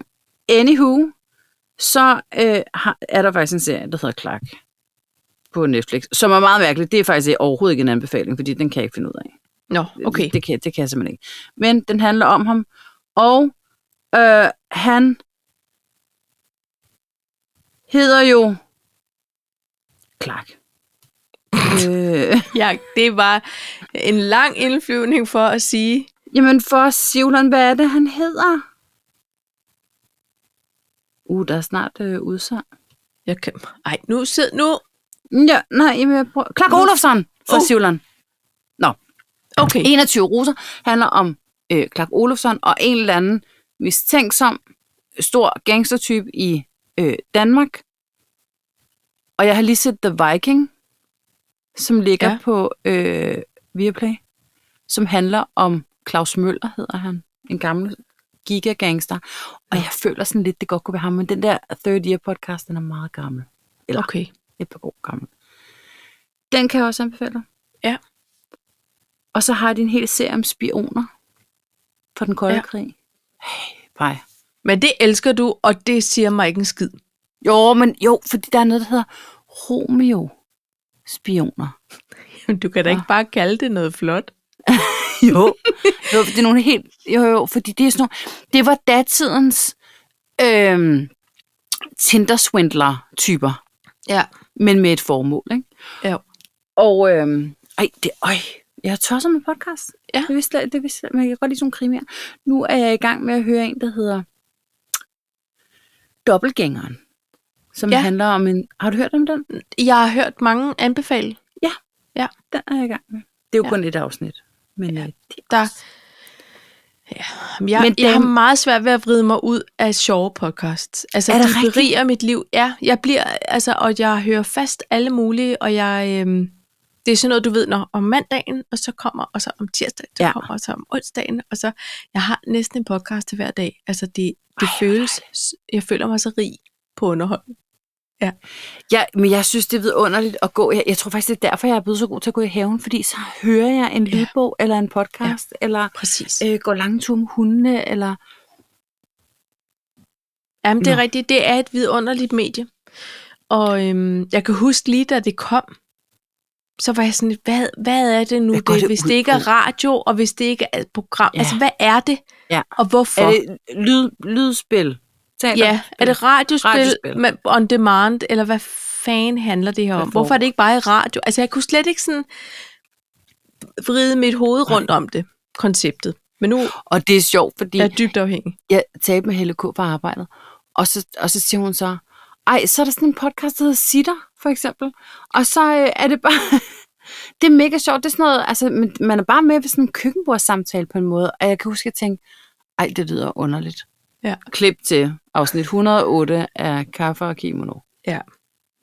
[SPEAKER 2] anywho, så øh, har, er der faktisk en serie, der hedder Clark på Netflix, som er meget mærkelig. Det er faktisk overhovedet ikke en anbefaling, fordi den kan jeg ikke finde ud af.
[SPEAKER 1] Nå, okay.
[SPEAKER 2] Det, det, kan, det kan jeg simpelthen ikke. Men den handler om ham, og øh, han hedder jo Clark. øh,
[SPEAKER 1] Ja, det var en lang indflyvning for at sige,
[SPEAKER 2] jamen for Sivlon, hvad er det, han hedder? Uh, der er snart øh, udsang.
[SPEAKER 1] jeg kan, ej, nu sid nu.
[SPEAKER 2] Ja, nej, jamen, jeg prøver. Clark Olofsson for
[SPEAKER 1] Uh.
[SPEAKER 2] uh. Sivlon.
[SPEAKER 1] Okay.
[SPEAKER 2] 21 roser handler om øh, Clark Olofsson og en eller anden mistænksom øh, stor gangstertype i øh, Danmark. Og jeg har lige set The Viking, som ligger ja.
[SPEAKER 1] Ja.
[SPEAKER 2] på øh, Viaplay, som handler om Claus Møller, hedder han. En gammel gigagangster. Og jeg føler sådan lidt, det godt kunne være ham, men den der Third Year podcast, den er meget gammel. Eller okay.
[SPEAKER 1] Okay.
[SPEAKER 2] et par år gammel. Den kan jeg også anbefale dig.
[SPEAKER 1] Ja.
[SPEAKER 2] Og så har de en hel serie om spioner fra den kolde ja.
[SPEAKER 1] Ja.
[SPEAKER 2] krig. Hey, pej.
[SPEAKER 1] Men det elsker du, og det siger mig ikke en skid.
[SPEAKER 2] Jo, men jo, fordi der er noget, der hedder Romeo spioner.
[SPEAKER 1] Du kan da ikke bare kalde det noget flot.
[SPEAKER 2] Jo. jo, det er nogle helt, jo, jo, fordi det er sådan nogle, det var datidens øhm, Tinder-swindler-typer,
[SPEAKER 1] Ja.
[SPEAKER 2] men med et formål, ikke?
[SPEAKER 1] ja.
[SPEAKER 2] Og øhm, ej, det, øj, jeg har tosset med podcast.
[SPEAKER 1] Ja.
[SPEAKER 2] Det vidste, jeg- det vidste, jeg- men jeg kan godt lide sådan nogle krimier. Nu er jeg i gang med at høre en, der hedder Dobbelgængeren. Som ja.
[SPEAKER 1] Ja.
[SPEAKER 2] handler om en... Har du hørt om den?
[SPEAKER 1] Jeg har hørt mange anbefale.
[SPEAKER 2] Den er jeg i gang med. Det er jo
[SPEAKER 1] Ja.
[SPEAKER 2] kun et afsnit. Men, øh, ja. det,
[SPEAKER 1] Der, ja, jeg,
[SPEAKER 2] Men
[SPEAKER 1] Men jeg har
[SPEAKER 2] dem-
[SPEAKER 1] meget svært ved at vride mig ud af sjove podcasts. Altså,
[SPEAKER 2] Er
[SPEAKER 1] er
[SPEAKER 2] det
[SPEAKER 1] de
[SPEAKER 2] rigtigt?
[SPEAKER 1] beriger mit liv. Ja, jeg bliver, altså, og jeg hører fast alle mulige, og jeg, øhm, det er sådan noget, du ved, når om mandagen, og så kommer, og så om tirsdagen, så
[SPEAKER 2] Ja.
[SPEAKER 1] ja. kommer, og så om onsdagen, og så, jeg har næsten en podcast til hver dag. Altså, det, det Ej, føles, jeg føler mig så rig på underholdning.
[SPEAKER 2] ja, men jeg synes, det er vidunderligt at gå. Jeg, jeg tror faktisk, det er derfor, jeg er blevet så god til at gå i haven. Fordi så hører jeg en lydbog, eller en podcast, ja. eller
[SPEAKER 1] Præcis.
[SPEAKER 2] øh, går lange ture med hundene, eller...
[SPEAKER 1] Jamen, det er
[SPEAKER 2] Nå.
[SPEAKER 1] rigtigt. Det er et vidunderligt medie. Og øhm, jeg kan huske lige, da det kom, så var jeg sådan, lidt, hvad, hvad er det nu?
[SPEAKER 2] Hvad går
[SPEAKER 1] det,
[SPEAKER 2] det
[SPEAKER 1] hvis
[SPEAKER 2] ud
[SPEAKER 1] det ikke er
[SPEAKER 2] på?
[SPEAKER 1] radio, og hvis det ikke er et program.
[SPEAKER 2] Ja.
[SPEAKER 1] Ja. Altså, hvad er det?
[SPEAKER 2] Ja.
[SPEAKER 1] Og hvorfor?
[SPEAKER 2] Er det lyd, lydspil? Teater?
[SPEAKER 1] ja. er det radiospil,
[SPEAKER 2] Radiospil.
[SPEAKER 1] radiospil. Med on demand, eller hvad fanden handler det her
[SPEAKER 2] Hvad
[SPEAKER 1] om? Hvorfor
[SPEAKER 2] foregår?
[SPEAKER 1] er det ikke bare i radio? Altså, jeg kunne slet ikke sådan vride mit hoved rundt om det, konceptet. Men nu er
[SPEAKER 2] Og det er sjovt, fordi ja.
[SPEAKER 1] jeg dybt afhængig.
[SPEAKER 2] jeg talte med Helle K. på arbejdet, og så, og så siger hun så, ej, så er der sådan en podcast, der hedder Sitter, for eksempel. Og så øh, er det bare... det er mega sjovt. Det er sådan noget, altså, men man er bare med ved sådan en køkkenbordssamtale på en måde. Og jeg kan huske, at jeg tænkte, ej, det lyder underligt.
[SPEAKER 1] Ja.
[SPEAKER 2] Klip til afsnit 108 af Kaffe og Kimono.
[SPEAKER 1] Ja.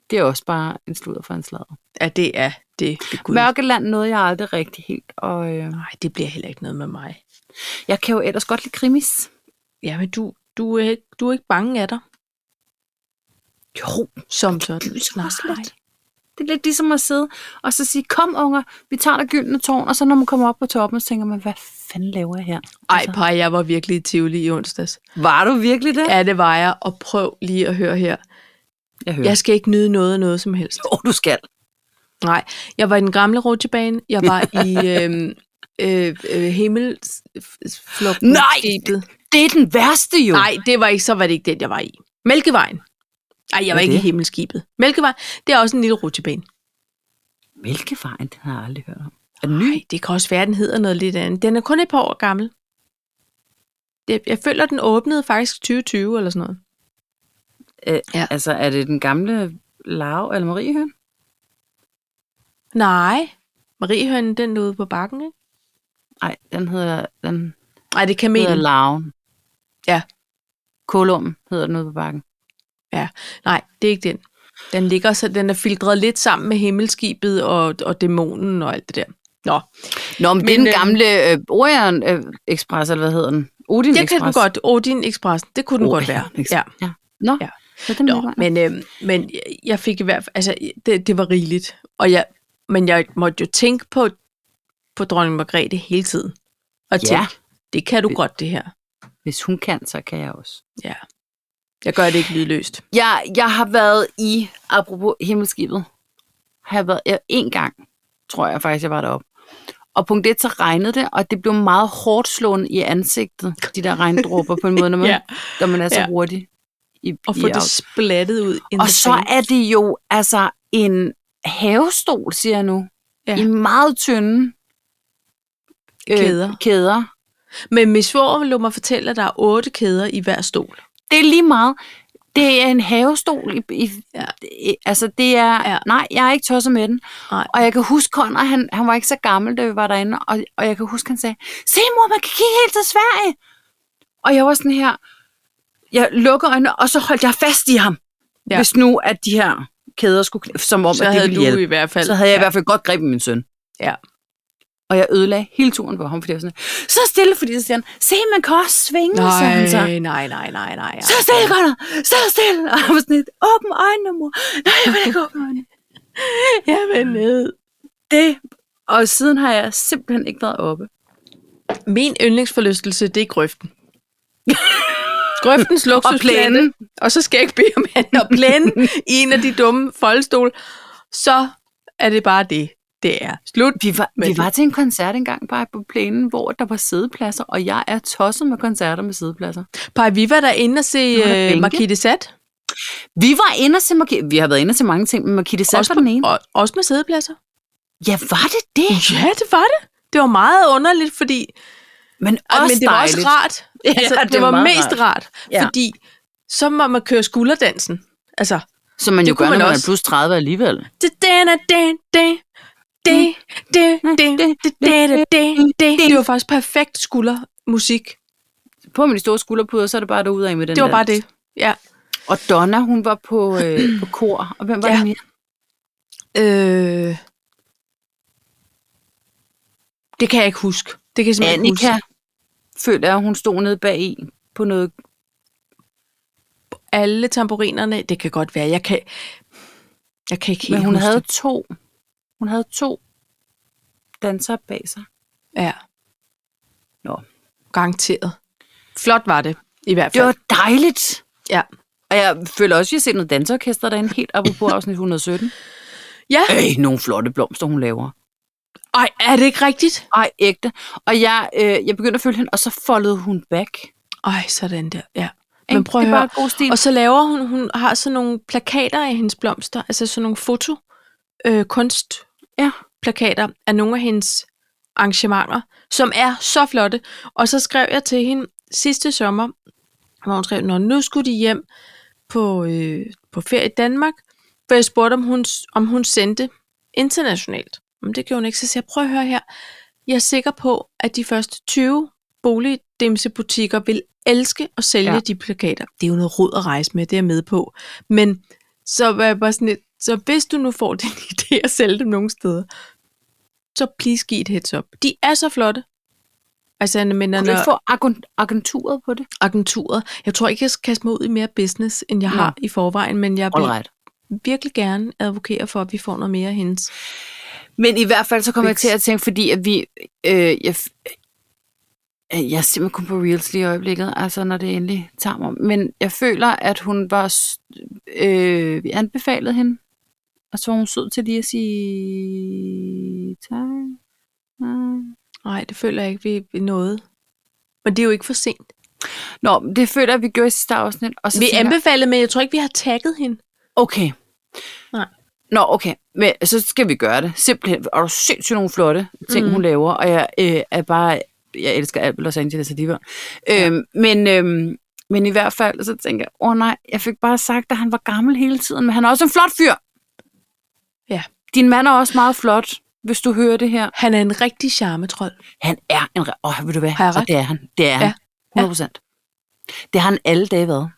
[SPEAKER 2] Det er også bare en sludder for en slader.
[SPEAKER 1] ja, det er det. det er guld.
[SPEAKER 2] Mørkeland nåede jeg aldrig rigtig helt. Og øh,
[SPEAKER 1] Nej, det bliver heller ikke noget med mig.
[SPEAKER 2] jeg kan jo ellers godt lide krimis.
[SPEAKER 1] Jamen, du, du, er, ikke- du er ikke bange af dig,
[SPEAKER 2] Jo,
[SPEAKER 1] som sådan.
[SPEAKER 2] lyser også lidt. Det er lidt ligesom at sidde og så sige, kom unger, vi tager dig gyldne tårn, og så når man kommer op på toppen, så tænker man, hvad fanden laver jeg her? Altså.
[SPEAKER 1] Ej, par, jeg var virkelig i Tivoli i onsdags.
[SPEAKER 2] Var du virkelig det?
[SPEAKER 1] Ja, det var jeg, og prøv lige at høre her.
[SPEAKER 2] jeg hører.
[SPEAKER 1] Jeg skal ikke nyde noget af noget som helst.
[SPEAKER 2] Jo, du skal.
[SPEAKER 1] Nej, jeg var i den gamle rutsjebane, jeg øhm, var i øh, øh, øh, himmelflugten.
[SPEAKER 2] Nej! Det er den værste jo.
[SPEAKER 1] Nej, det var ikke, så var det ikke den, jeg var i. Mælkevejen. Nej, jeg var
[SPEAKER 2] er
[SPEAKER 1] ikke i
[SPEAKER 2] det?
[SPEAKER 1] himmelskibet. Mælkevejen, det er også en lille rutsjebane.
[SPEAKER 2] Mælkevejen, den har jeg aldrig hørt om. Er den ny?
[SPEAKER 1] Nej, det kan også være, den hedder noget lidt andet. Den er kun et par år gammel. Det, jeg føler, den åbnede faktisk 2020 eller sådan noget.
[SPEAKER 2] Øh,
[SPEAKER 1] Ja.
[SPEAKER 2] ja. Altså, er det den gamle Lav eller Marie Høn?
[SPEAKER 1] Nej. Mariehønen, den ude på bakken, ikke?
[SPEAKER 2] Nej, den hedder, den
[SPEAKER 1] Nej, det er
[SPEAKER 2] Men. hedder
[SPEAKER 1] kamelen.
[SPEAKER 2] Laven.
[SPEAKER 1] Ja.
[SPEAKER 2] Kolum hedder den ude på bakken.
[SPEAKER 1] Nej, det er ikke den. Den ligger så, den er filtreret lidt sammen med himmelskibet og, og dæmonen og alt det der. Nå,
[SPEAKER 2] Nå, men, men det er
[SPEAKER 1] Men,
[SPEAKER 2] den
[SPEAKER 1] øh,
[SPEAKER 2] gamle øh, Orion øh, Express, eller hvad hedder den? Odin
[SPEAKER 1] det kan
[SPEAKER 2] Express.
[SPEAKER 1] den godt. Odin Express, det kunne den godt være.
[SPEAKER 2] Orion Express.
[SPEAKER 1] Ja.
[SPEAKER 2] ja. Nå,
[SPEAKER 1] Ja.
[SPEAKER 2] ja. Så den
[SPEAKER 1] Nå,
[SPEAKER 2] men,
[SPEAKER 1] men, øh, men jeg- jeg fik i hvert fald, altså det, det var rigeligt. Og jeg, men jeg måtte jo tænke på, på dronning Margrethe hele tiden. Og
[SPEAKER 2] Ja.
[SPEAKER 1] tænke, det kan du godt det her.
[SPEAKER 2] Hvis hun kan, så kan jeg også.
[SPEAKER 1] Jeg gør det ikke lydløst.
[SPEAKER 2] Jeg, jeg har været i, apropos himmelskibet, har jeg været jeg, en gang, tror jeg faktisk, jeg var deroppe. Og punkt et, så regnede det, og det blev meget hårdt slående i ansigtet, de der regndråber på en måde, når man,
[SPEAKER 1] Ja.
[SPEAKER 2] ja. når man er så
[SPEAKER 1] Ja.
[SPEAKER 2] ja. hurtig. I,
[SPEAKER 1] Og få
[SPEAKER 2] i
[SPEAKER 1] det splattet ud. in
[SPEAKER 2] Og
[SPEAKER 1] the
[SPEAKER 2] så
[SPEAKER 1] sand.
[SPEAKER 2] er det jo altså en havestol, siger jeg nu.
[SPEAKER 1] Ja.
[SPEAKER 2] Ja. I meget tynde
[SPEAKER 1] Kæder.
[SPEAKER 2] Øh, kæder.
[SPEAKER 1] Men min svoger lå mig fortælle, at der er otte kæder i hver stol.
[SPEAKER 2] Det er lige meget. Det er en havestol. I, i,
[SPEAKER 1] Ja.
[SPEAKER 2] ja. Altså, det er...
[SPEAKER 1] Ja.
[SPEAKER 2] Ja. Nej, jeg er ikke tosset med den.
[SPEAKER 1] Nej.
[SPEAKER 2] Og jeg kan huske Conrad, han, han var ikke så gammel, da vi var derinde, og, og jeg kan huske, han sagde, se mor, man kan kigge helt til Sverige. Og jeg var sådan her, jeg lukker øjnene, og så holdt jeg fast i ham.
[SPEAKER 1] Ja.
[SPEAKER 2] Ja. Hvis nu, at de her kæder skulle... kn- Som om,
[SPEAKER 1] Så
[SPEAKER 2] at det
[SPEAKER 1] havde
[SPEAKER 2] ville
[SPEAKER 1] du
[SPEAKER 2] hjælpe.
[SPEAKER 1] i hvert fald.
[SPEAKER 2] Så havde jeg
[SPEAKER 1] ja.
[SPEAKER 2] i hvert fald godt grebet min søn.
[SPEAKER 1] Ja.
[SPEAKER 2] Og jeg ødelagde hele turen på ham, fordi jeg var sådan, så stille, fordi så siger han, se, man kan også svinge, sagde han så.
[SPEAKER 1] Nej, nej, nej, nej, nej.
[SPEAKER 2] Så stille, Conrad, så stille. Og jeg var sådan lidt, åbn øjnene, mor. Nej, jeg vil ikke åbne øjnene.
[SPEAKER 1] Jeg vil ned.
[SPEAKER 2] Det, og siden har jeg simpelthen ikke været oppe.
[SPEAKER 1] Min yndlingsforlystelse, det er grøften. Grøftens luksusplane.
[SPEAKER 2] plænen.
[SPEAKER 1] Og så skal jeg ikke bede om andet. Og plænen i en af de dumme foldstol. Så er det bare det, det er. Slut.
[SPEAKER 2] Vi var,
[SPEAKER 1] Men
[SPEAKER 2] vi
[SPEAKER 1] det-
[SPEAKER 2] var til en koncert engang bare på plænen, hvor der var sædepladser, og jeg er tosset med koncerter med sædepladser.
[SPEAKER 1] Paj, vi var derinde og se
[SPEAKER 2] var der
[SPEAKER 1] øh,
[SPEAKER 2] bænke.
[SPEAKER 1] Marquis de Sade.
[SPEAKER 2] Vi var inde og se Marki- Vi har været inde og se mange ting, men Markitte Sand
[SPEAKER 1] Også,
[SPEAKER 2] var den ene.
[SPEAKER 1] på- og, også med sædepladser.
[SPEAKER 2] Ja, var det det?
[SPEAKER 1] Ja, det var det. Det var meget underligt, fordi
[SPEAKER 2] Men
[SPEAKER 1] Ej,
[SPEAKER 2] også
[SPEAKER 1] men det var også
[SPEAKER 2] dejligt.
[SPEAKER 1] rart.
[SPEAKER 2] Ja,
[SPEAKER 1] Altså, ja, det,
[SPEAKER 2] det
[SPEAKER 1] det
[SPEAKER 2] er
[SPEAKER 1] var
[SPEAKER 2] meget
[SPEAKER 1] mest rart, rart ja.
[SPEAKER 2] Ja.
[SPEAKER 1] fordi så må man køre skulderdansen. Altså,
[SPEAKER 2] Som man
[SPEAKER 1] Det
[SPEAKER 2] jo
[SPEAKER 1] kunne
[SPEAKER 2] gør,
[SPEAKER 1] man
[SPEAKER 2] når man er
[SPEAKER 1] også.
[SPEAKER 2] plus 30 alligevel.
[SPEAKER 1] det den er det, det, det, det, det, det, det, det, det, det. Det var faktisk perfekt skuldermusik.
[SPEAKER 2] På med de store skulderpuder, så er det bare derude af med den
[SPEAKER 1] Det var bare
[SPEAKER 2] dans.
[SPEAKER 1] det. Ja.
[SPEAKER 2] Og Donna, hun var på, øh, på kor. Og hvem var
[SPEAKER 1] Ja.
[SPEAKER 2] ja. det mere?
[SPEAKER 1] Øh, det kan jeg ikke huske. Det kan jeg simpelthen ikke
[SPEAKER 2] Annika.
[SPEAKER 1] huske.
[SPEAKER 2] Føler jeg, hun stod nede bag i på noget.
[SPEAKER 1] Alle tamburinerne, det kan godt være. Jeg kan, jeg kan ikke helt
[SPEAKER 2] Men hun
[SPEAKER 1] huske
[SPEAKER 2] havde
[SPEAKER 1] det.
[SPEAKER 2] to. Hun havde to dansere bag sig.
[SPEAKER 1] Ja.
[SPEAKER 2] Nå.
[SPEAKER 1] Garanteret. Flot var det, i hvert
[SPEAKER 2] Det
[SPEAKER 1] fald.
[SPEAKER 2] var dejligt.
[SPEAKER 1] Ja.
[SPEAKER 2] Og jeg føler også, at vi har set noget dansorkester derinde, helt apropos afsnit 117.
[SPEAKER 1] Ja.
[SPEAKER 2] Øj, nogle flotte blomster, hun laver.
[SPEAKER 1] Ej, er det ikke rigtigt?
[SPEAKER 2] Ej, ægte. Og jeg, øh, jeg begyndte at følge hende, og så foldede hun back.
[SPEAKER 1] Ej, sådan der, ja.
[SPEAKER 2] Ikke?
[SPEAKER 1] Men prøv at
[SPEAKER 2] det er
[SPEAKER 1] høre.
[SPEAKER 2] bare god stil.
[SPEAKER 1] Og så laver hun, hun har sådan nogle plakater af hendes blomster, altså sådan nogle foto, øh, kunstplakater
[SPEAKER 2] Ja.
[SPEAKER 1] af nogle af hendes arrangementer, som er så flotte. Og så skrev jeg til hende sidste sommer, hvor hun skrev, når nu skulle de hjem på, øh, på ferie i Danmark, for jeg spurgte, om hun, om hun sendte internationalt. Men det gjorde hun ikke, så siger jeg, prøv at høre her. Jeg er sikker på, at de første 20 boligdimsebutikker vil elske at sælge ja.
[SPEAKER 2] Ja.
[SPEAKER 1] de plakater. Det er jo noget rod at rejse med, det er jeg med på. Men så var jeg bare sådan lidt, så hvis du nu får den idé at sælge dem nogle steder, så please giv et heads up. De er så flotte. Altså, jeg mener,
[SPEAKER 2] Kunne du
[SPEAKER 1] når
[SPEAKER 2] ikke få agen- agenturet på det?
[SPEAKER 1] agenturet, jeg tror ikke, jeg skal kaste mig ud i mere business, end jeg
[SPEAKER 2] Nå.
[SPEAKER 1] har i forvejen, men jeg vil
[SPEAKER 2] Alright.
[SPEAKER 1] virkelig gerne advokere for, at vi får noget mere af hendes.
[SPEAKER 2] Men i hvert fald så kommer jeg
[SPEAKER 1] Fix.
[SPEAKER 2] til at tænke, fordi at vi... Øh, jeg, f- øh, jeg er simpelthen kun på Reels lige i øjeblikket, altså når det endelig tager mig. Men jeg føler, at hun var... s- Øh, vi anbefalede hende, og så var hun sød til lige at sige... Tak. Nej.
[SPEAKER 1] Nej, det føler jeg ikke, vi vi nåede. Men det er jo ikke for sent.
[SPEAKER 2] Nå, men det føler jeg, vi gjorde i sidste afsnit. Og så
[SPEAKER 1] Vi
[SPEAKER 2] tænker jeg-
[SPEAKER 1] anbefalede, men jeg tror ikke, vi har tagget hende.
[SPEAKER 2] Okay.
[SPEAKER 1] Nej.
[SPEAKER 2] Nå, okay. Men så skal vi gøre det. Simpelthen. Og du er sindssygt nogle flotte ting, mm.
[SPEAKER 1] Mhm.
[SPEAKER 2] hun laver. Og jeg øh, er bare... Jeg elsker alt ved Los Angeles og Divon. Øhm, men, øhm, men i hvert fald, så tænker jeg, åh oh, nej, jeg fik bare sagt, at han var gammel hele tiden, men han er også en flot fyr.
[SPEAKER 1] Ja.
[SPEAKER 2] Din mand er også meget flot, hvis du hører det her.
[SPEAKER 1] Han er en rigtig charmetrol.
[SPEAKER 2] Han er en... re- Åh, oh, ved du hvad?
[SPEAKER 1] Har jeg
[SPEAKER 2] Og
[SPEAKER 1] ret?
[SPEAKER 2] det er han. Det er han.
[SPEAKER 1] Ja.
[SPEAKER 2] 100 procent. Det har han alle dage været.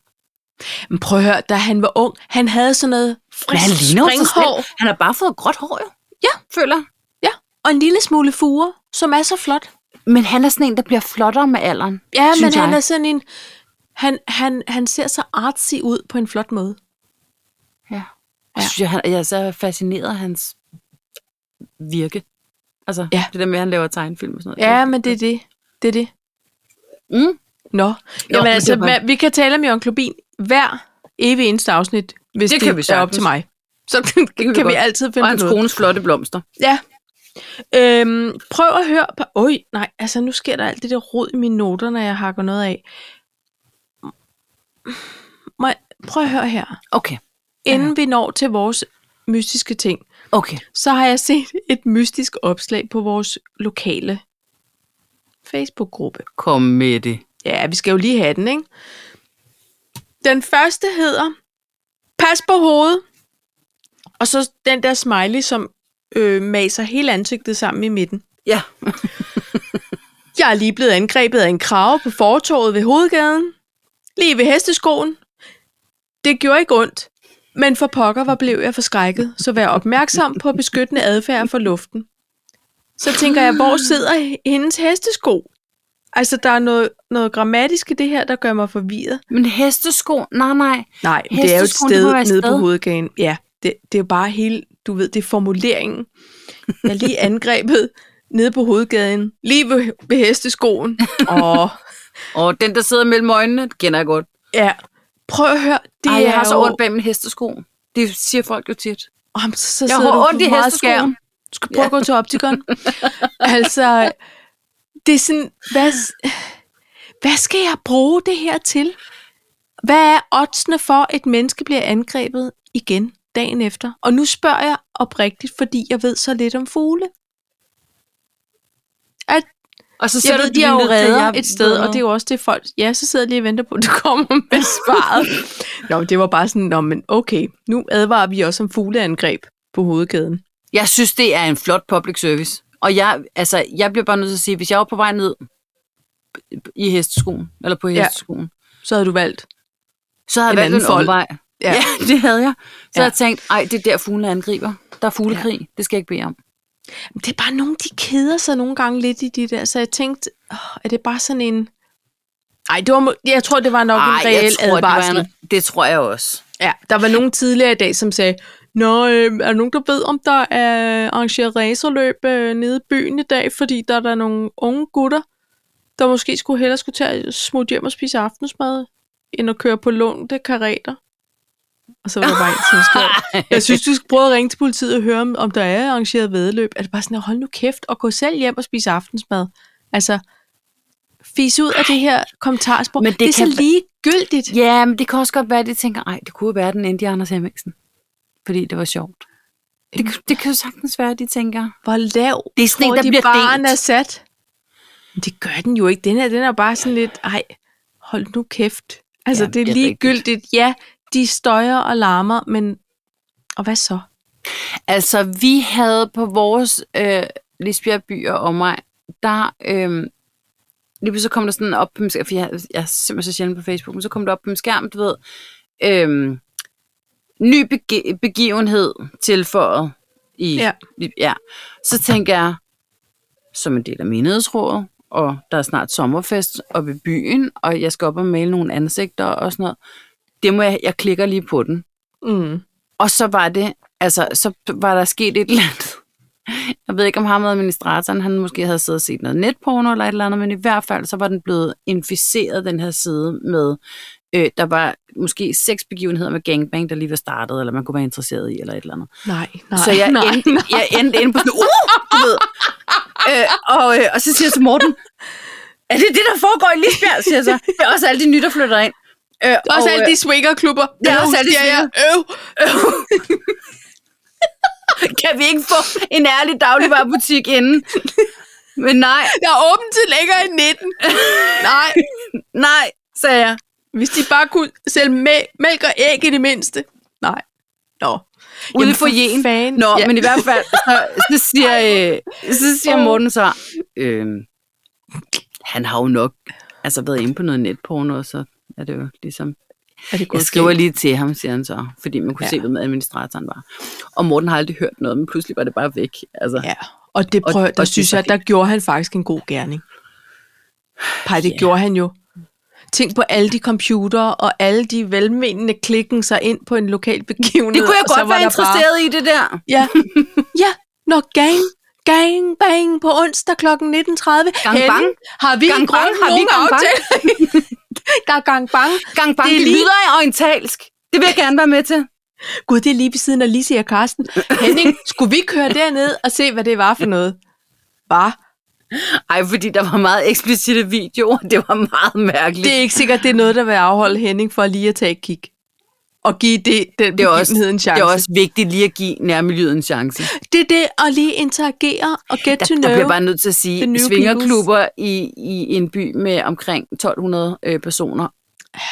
[SPEAKER 1] Men prøv at høre, da han var ung, han havde sådan noget
[SPEAKER 2] Men han
[SPEAKER 1] frisk
[SPEAKER 2] ligner jo sig
[SPEAKER 1] springhår
[SPEAKER 2] selv. Han har bare fået gråt hår, jo. Ja, føler jeg.
[SPEAKER 1] og en lille smule fure, som er så flot.
[SPEAKER 2] Men han er sådan en, der bliver flottere med alderen.
[SPEAKER 1] Ja,
[SPEAKER 2] Synes
[SPEAKER 1] men han
[SPEAKER 2] jeg.
[SPEAKER 1] er sådan en... Han, han, han ser så artsy ud på en flot måde.
[SPEAKER 2] Ja.
[SPEAKER 1] Ja.
[SPEAKER 2] Jeg, synes, jeg, han- jeg er så fascineret af hans virke. Altså,
[SPEAKER 1] Ja.
[SPEAKER 2] det der med, at han laver tegnefilm og sådan noget.
[SPEAKER 1] Ja, men det er det. Det er det.
[SPEAKER 2] Mm.
[SPEAKER 1] Nå.
[SPEAKER 2] men
[SPEAKER 1] Jamen
[SPEAKER 2] det
[SPEAKER 1] Nå, altså,
[SPEAKER 2] var-
[SPEAKER 1] hvad- vi kan tale om Jørgen Klubin hver evig eneste afsnit, hvis
[SPEAKER 2] Det
[SPEAKER 1] det,
[SPEAKER 2] kan vi
[SPEAKER 1] det er op
[SPEAKER 2] sagtens.
[SPEAKER 1] til mig. Så kan,
[SPEAKER 2] kan vi
[SPEAKER 1] kan, kan vi
[SPEAKER 2] godt.
[SPEAKER 1] altid
[SPEAKER 2] Og
[SPEAKER 1] finde på
[SPEAKER 2] hans
[SPEAKER 1] noget.
[SPEAKER 2] kones flotte blomster.
[SPEAKER 1] Ja. Øhm, prøv at høre på... Øj, nej, altså nu sker der alt det der rod i mine noter, når jeg hakker noget af. Må jeg, prøv at høre her.
[SPEAKER 2] Okay,
[SPEAKER 1] Inden vi når til vores mystiske ting,
[SPEAKER 2] okay.
[SPEAKER 1] så har jeg set et mystisk opslag på vores lokale Facebook-gruppe.
[SPEAKER 2] Kom med det.
[SPEAKER 1] Ja, vi skal jo lige have den, ikke? Den første hedder, pas på hovedet. Og så den der smiley, som øh, maser hele ansigtet sammen i midten.
[SPEAKER 2] Ja.
[SPEAKER 1] Jeg er lige blevet angrebet af en krave på fortorvet ved hovedgaden. Lige ved hesteskoen. Det gjorde ikke ondt. Men for pokker var blev jeg forskrækket, så vær opmærksom på beskyttende adfærd for luften. Så tænker jeg, hvor sidder hendes hestesko? Altså, der er noget, noget grammatisk i det her, der gør mig forvirret.
[SPEAKER 2] Men hestesko, nej, nej.
[SPEAKER 1] Nej, men det er jo et
[SPEAKER 2] Hesteskoen, det må
[SPEAKER 1] sted
[SPEAKER 2] være et
[SPEAKER 1] nede på
[SPEAKER 2] sted.
[SPEAKER 1] hovedgaden. Ja, det, det er jo bare hele, du ved, det er formuleringen. Jeg er lige angrebet nede på hovedgaden, lige ved, ved hesteskoen. Åh,
[SPEAKER 2] Og den, der sidder mellem øjnene, det kender jeg godt.
[SPEAKER 1] ja. Prøv at høre, det
[SPEAKER 2] Det Ej, jeg
[SPEAKER 1] er
[SPEAKER 2] har så
[SPEAKER 1] jo...
[SPEAKER 2] ondt bag min hestesko. Det siger folk jo tit.
[SPEAKER 1] Oh, så, så
[SPEAKER 2] Jeg
[SPEAKER 1] sidder
[SPEAKER 2] har
[SPEAKER 1] du på
[SPEAKER 2] ondt i
[SPEAKER 1] meget
[SPEAKER 2] hesteskoen.
[SPEAKER 1] skærm. Du skal prøve at gå til optikeren. altså, det er sådan, hvad, hvad skal jeg bruge det her til? Hvad er oddsene for, at et menneske bliver angrebet igen dagen efter? Og nu spørger jeg oprigtigt, fordi jeg ved så lidt om fugle. At
[SPEAKER 2] Og så
[SPEAKER 1] jeg
[SPEAKER 2] sætter
[SPEAKER 1] ved, de
[SPEAKER 2] lige
[SPEAKER 1] er jo
[SPEAKER 2] ned til,
[SPEAKER 1] redder
[SPEAKER 2] jeg
[SPEAKER 1] et sted,
[SPEAKER 2] ved
[SPEAKER 1] og det er jo også det folk... Ja, så sidder jeg lige og venter på, at du kommer med svaret. Nå, men det var bare sådan, Nå, men okay, nu advarer vi også om fugleangreb på hovedkæden.
[SPEAKER 2] Jeg synes, det er en flot public service. Og jeg, altså, jeg bliver bare nødt til at sige, hvis jeg var på vej ned i hesteskoen, eller på
[SPEAKER 1] Ja.
[SPEAKER 2] hesteskoen, ja.
[SPEAKER 1] Så havde du valgt.
[SPEAKER 2] så havde
[SPEAKER 1] En
[SPEAKER 2] jeg valgt
[SPEAKER 1] anden
[SPEAKER 2] en
[SPEAKER 1] fold.
[SPEAKER 2] omvej. Ja.
[SPEAKER 1] Ja.
[SPEAKER 2] ja, det havde jeg. Så
[SPEAKER 1] Ja.
[SPEAKER 2] ja. jeg tænkt, ej, det er der fuglene angriber. Der er fuglekrig. Ja. Det skal jeg ikke bede om.
[SPEAKER 1] Det er bare nogen, de keder sig nogle gange lidt i de der, så jeg tænkte, åh, er det bare sådan en... Ej, det var, må- jeg tror, det var nok Ej, en reel
[SPEAKER 2] det,
[SPEAKER 1] advarsel.
[SPEAKER 2] var en, det tror jeg også.
[SPEAKER 1] Ja, der var nogen tidligere i dag, som sagde, Nå, øh, er der nogen, der ved, om der er arrangeret racerløb øh, nede i byen i dag, fordi der er der nogle unge gutter, der måske skulle hellere skulle til at smutte hjem og spise aftensmad, end at køre på lånte karater. Og så var der bare en, som skrev, jeg synes, du skal prøve at ringe til politiet og høre, om- om der er arrangeret vedløb. Er det bare sådan, hold nu kæft, og gå selv hjem og spise aftensmad. Altså, fis ud af det her kommentarspor.
[SPEAKER 2] Men
[SPEAKER 1] Men
[SPEAKER 2] det
[SPEAKER 1] det, det er
[SPEAKER 2] kan-
[SPEAKER 1] så ligegyldigt.
[SPEAKER 2] Ja, men det kan også godt være, at de tænker, ej, det kunne jo være den endte i Anders Hemmingsen. Fordi det var sjovt. Det, det kan jo sagtens være, at de tænker.
[SPEAKER 1] Hvor lav
[SPEAKER 2] Det er sådan en,
[SPEAKER 1] tror
[SPEAKER 2] der
[SPEAKER 1] de
[SPEAKER 2] bliver
[SPEAKER 1] barren
[SPEAKER 2] delt.
[SPEAKER 1] er sat? Men det gør den jo ikke. Den her, den er bare sådan lidt, ej, hold nu kæft. Altså,
[SPEAKER 2] Ja,
[SPEAKER 1] ja, det
[SPEAKER 2] det er
[SPEAKER 1] er ligegyldigt. Ja, de støjer og larmer, men... Og hvad så?
[SPEAKER 2] Altså, vi havde på vores øh, Lisbjerg by og omegn, der... Øh, lige pludselig så kom der sådan op på min skærm, for jeg, jeg er simpelthen så sjældent på Facebook, men så kom der op på min skærm, du ved, øh, ny bege- begivenhed tilføjet i...
[SPEAKER 1] Ja.
[SPEAKER 2] ja. Så tænker jeg, som en del af menighedsrådet, og der er snart sommerfest oppe i byen, og jeg skal op og male nogle ansigter og sådan noget. Det må jeg, jeg klikker lige på den.
[SPEAKER 1] Mm.
[SPEAKER 2] Og så var det, altså, så var der sket et eller andet. Jeg ved ikke, om ham og administratoren, han måske havde siddet og set noget netporno eller et eller andet, men i hvert fald, så var den blevet inficeret, den her side, med, øh, der var måske seks begivenheder med gangbang, der lige var startet, eller man kunne være interesseret i, eller et eller andet.
[SPEAKER 1] Nej, nej,
[SPEAKER 2] så jeg,
[SPEAKER 1] nej.
[SPEAKER 2] endte, jeg endte inde på sådan, uh, du ved. Øh, og, øh, og så siger jeg til Morten, er det det, der foregår i Lisbjerg, siger jeg så. Det er også alle de nye, der flytter ind. Øh,
[SPEAKER 1] Der er også alle
[SPEAKER 2] øh,
[SPEAKER 1] de swingerklubber.
[SPEAKER 2] der er
[SPEAKER 1] Øv,
[SPEAKER 2] også alle de
[SPEAKER 1] siger jeg. Øv.
[SPEAKER 2] kan vi ikke få en ærlig dagligvarerbutik inden? Men nej,
[SPEAKER 1] Der er åbent til længere end 19. Nej,
[SPEAKER 2] nej, sagde jeg.
[SPEAKER 1] hvis de bare kunne sælge mæ- mælk og æg i det mindste. Nej. Nå.
[SPEAKER 2] Ude
[SPEAKER 1] Jamen,
[SPEAKER 2] for jen.
[SPEAKER 1] fanden.
[SPEAKER 2] Nå,
[SPEAKER 1] Ja.
[SPEAKER 2] ja. men i hvert fald, så, så, siger, øh, så siger Morten så, øh, han har jo nok altså været inde på noget netporno, og så er det jo ligesom
[SPEAKER 1] Er det
[SPEAKER 2] Jeg skriver lige til ham, siger han så, fordi man kunne
[SPEAKER 1] Ja.
[SPEAKER 2] ja. se, hvem administratoren var. Og Morten har aldrig hørt noget, men pludselig var det bare væk. Altså, ja.
[SPEAKER 1] Ja, og det
[SPEAKER 2] Og-
[SPEAKER 1] prøver, og, der
[SPEAKER 2] og det
[SPEAKER 1] synes
[SPEAKER 2] er
[SPEAKER 1] jeg, der gjorde han faktisk en god gerning. Pej, det
[SPEAKER 2] Ja.
[SPEAKER 1] gjorde han jo. Tænk på alle de computere og alle de velmenende klikken sig ind på en lokal begivenhed.
[SPEAKER 2] Det kunne jeg
[SPEAKER 1] og så
[SPEAKER 2] godt
[SPEAKER 1] var
[SPEAKER 2] være
[SPEAKER 1] der
[SPEAKER 2] interesseret bare... i, det der.
[SPEAKER 1] Bare, ja, ja, når gang, gang, bang på onsdag kl. 19.30.
[SPEAKER 2] Gang
[SPEAKER 1] Hellen,
[SPEAKER 2] bang.
[SPEAKER 1] Har vi
[SPEAKER 2] Gang bang,
[SPEAKER 1] en grøn
[SPEAKER 2] har vi
[SPEAKER 1] nogen
[SPEAKER 2] gang bang?
[SPEAKER 1] aftale? der er gang bang.
[SPEAKER 2] Gang bang,
[SPEAKER 1] Det
[SPEAKER 2] det,
[SPEAKER 1] er
[SPEAKER 2] det
[SPEAKER 1] lige-
[SPEAKER 2] lyder orientalsk. Det vil jeg gerne være med til.
[SPEAKER 1] Gud, det er lige ved siden af Lise og Karsten. Henning, skulle vi køre derned og se, hvad det var for noget? Var?
[SPEAKER 2] Ej, fordi der var meget eksplicite videoer. Det var meget mærkeligt.
[SPEAKER 1] Det er ikke sikkert, det er noget, der vil afholde Henning for lige at tage et kig. Og give det, den
[SPEAKER 2] det er, også,
[SPEAKER 1] begivenhed en chance.
[SPEAKER 2] det er også vigtigt lige at give nærmiljøet en chance.
[SPEAKER 1] det, er det at lige interagere og get to
[SPEAKER 2] Der, der
[SPEAKER 1] know.
[SPEAKER 2] bliver bare nødt til at
[SPEAKER 1] the
[SPEAKER 2] sige,
[SPEAKER 1] new
[SPEAKER 2] svingerklubber i, i en by med omkring 1200 øh, personer.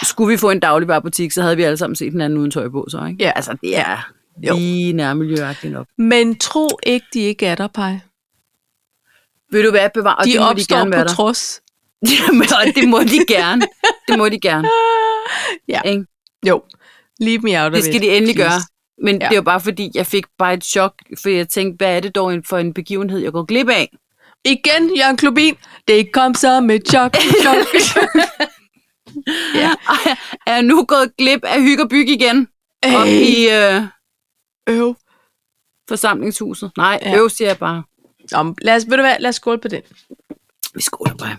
[SPEAKER 2] Skulle vi få en dagligvarerbutik, så havde vi alle sammen set den anden uden tøj på, så ikke?
[SPEAKER 1] Ja.
[SPEAKER 2] Altså, det er
[SPEAKER 1] Jo.
[SPEAKER 2] lige nærmiljøagtigt nok.
[SPEAKER 1] Men tro ikke, de ikke er der, Paj.
[SPEAKER 2] Vil du være bevaret?
[SPEAKER 1] De
[SPEAKER 2] det må
[SPEAKER 1] opstår
[SPEAKER 2] gerne
[SPEAKER 1] de
[SPEAKER 2] være
[SPEAKER 1] på
[SPEAKER 2] der.
[SPEAKER 1] trods.
[SPEAKER 2] Jamen, og det må de gerne. Det må de gerne.
[SPEAKER 1] Ja.
[SPEAKER 2] Ikke?
[SPEAKER 1] Jo, leave me out of
[SPEAKER 2] Det skal
[SPEAKER 1] it,
[SPEAKER 2] de endelig
[SPEAKER 1] please.
[SPEAKER 2] gøre. Men
[SPEAKER 1] Ja.
[SPEAKER 2] ja. det var bare fordi, jeg fik bare et chok, for jeg tænkte, hvad er det dog for en begivenhed, jeg går glip af?
[SPEAKER 1] Igen, Jørgen Klubin. Det kom som et chok. chok, chok.
[SPEAKER 2] Ja. Er jeg nu gået glip af hygge og byg igen? Op
[SPEAKER 1] Ej,
[SPEAKER 2] i øh,
[SPEAKER 1] øv.
[SPEAKER 2] forsamlingshuset? Nej,
[SPEAKER 1] Ja.
[SPEAKER 2] ja. øv siger jeg bare.
[SPEAKER 1] Nå, men lad os, ved du hvad, lad os skåle på den.
[SPEAKER 2] Vi skåler bare.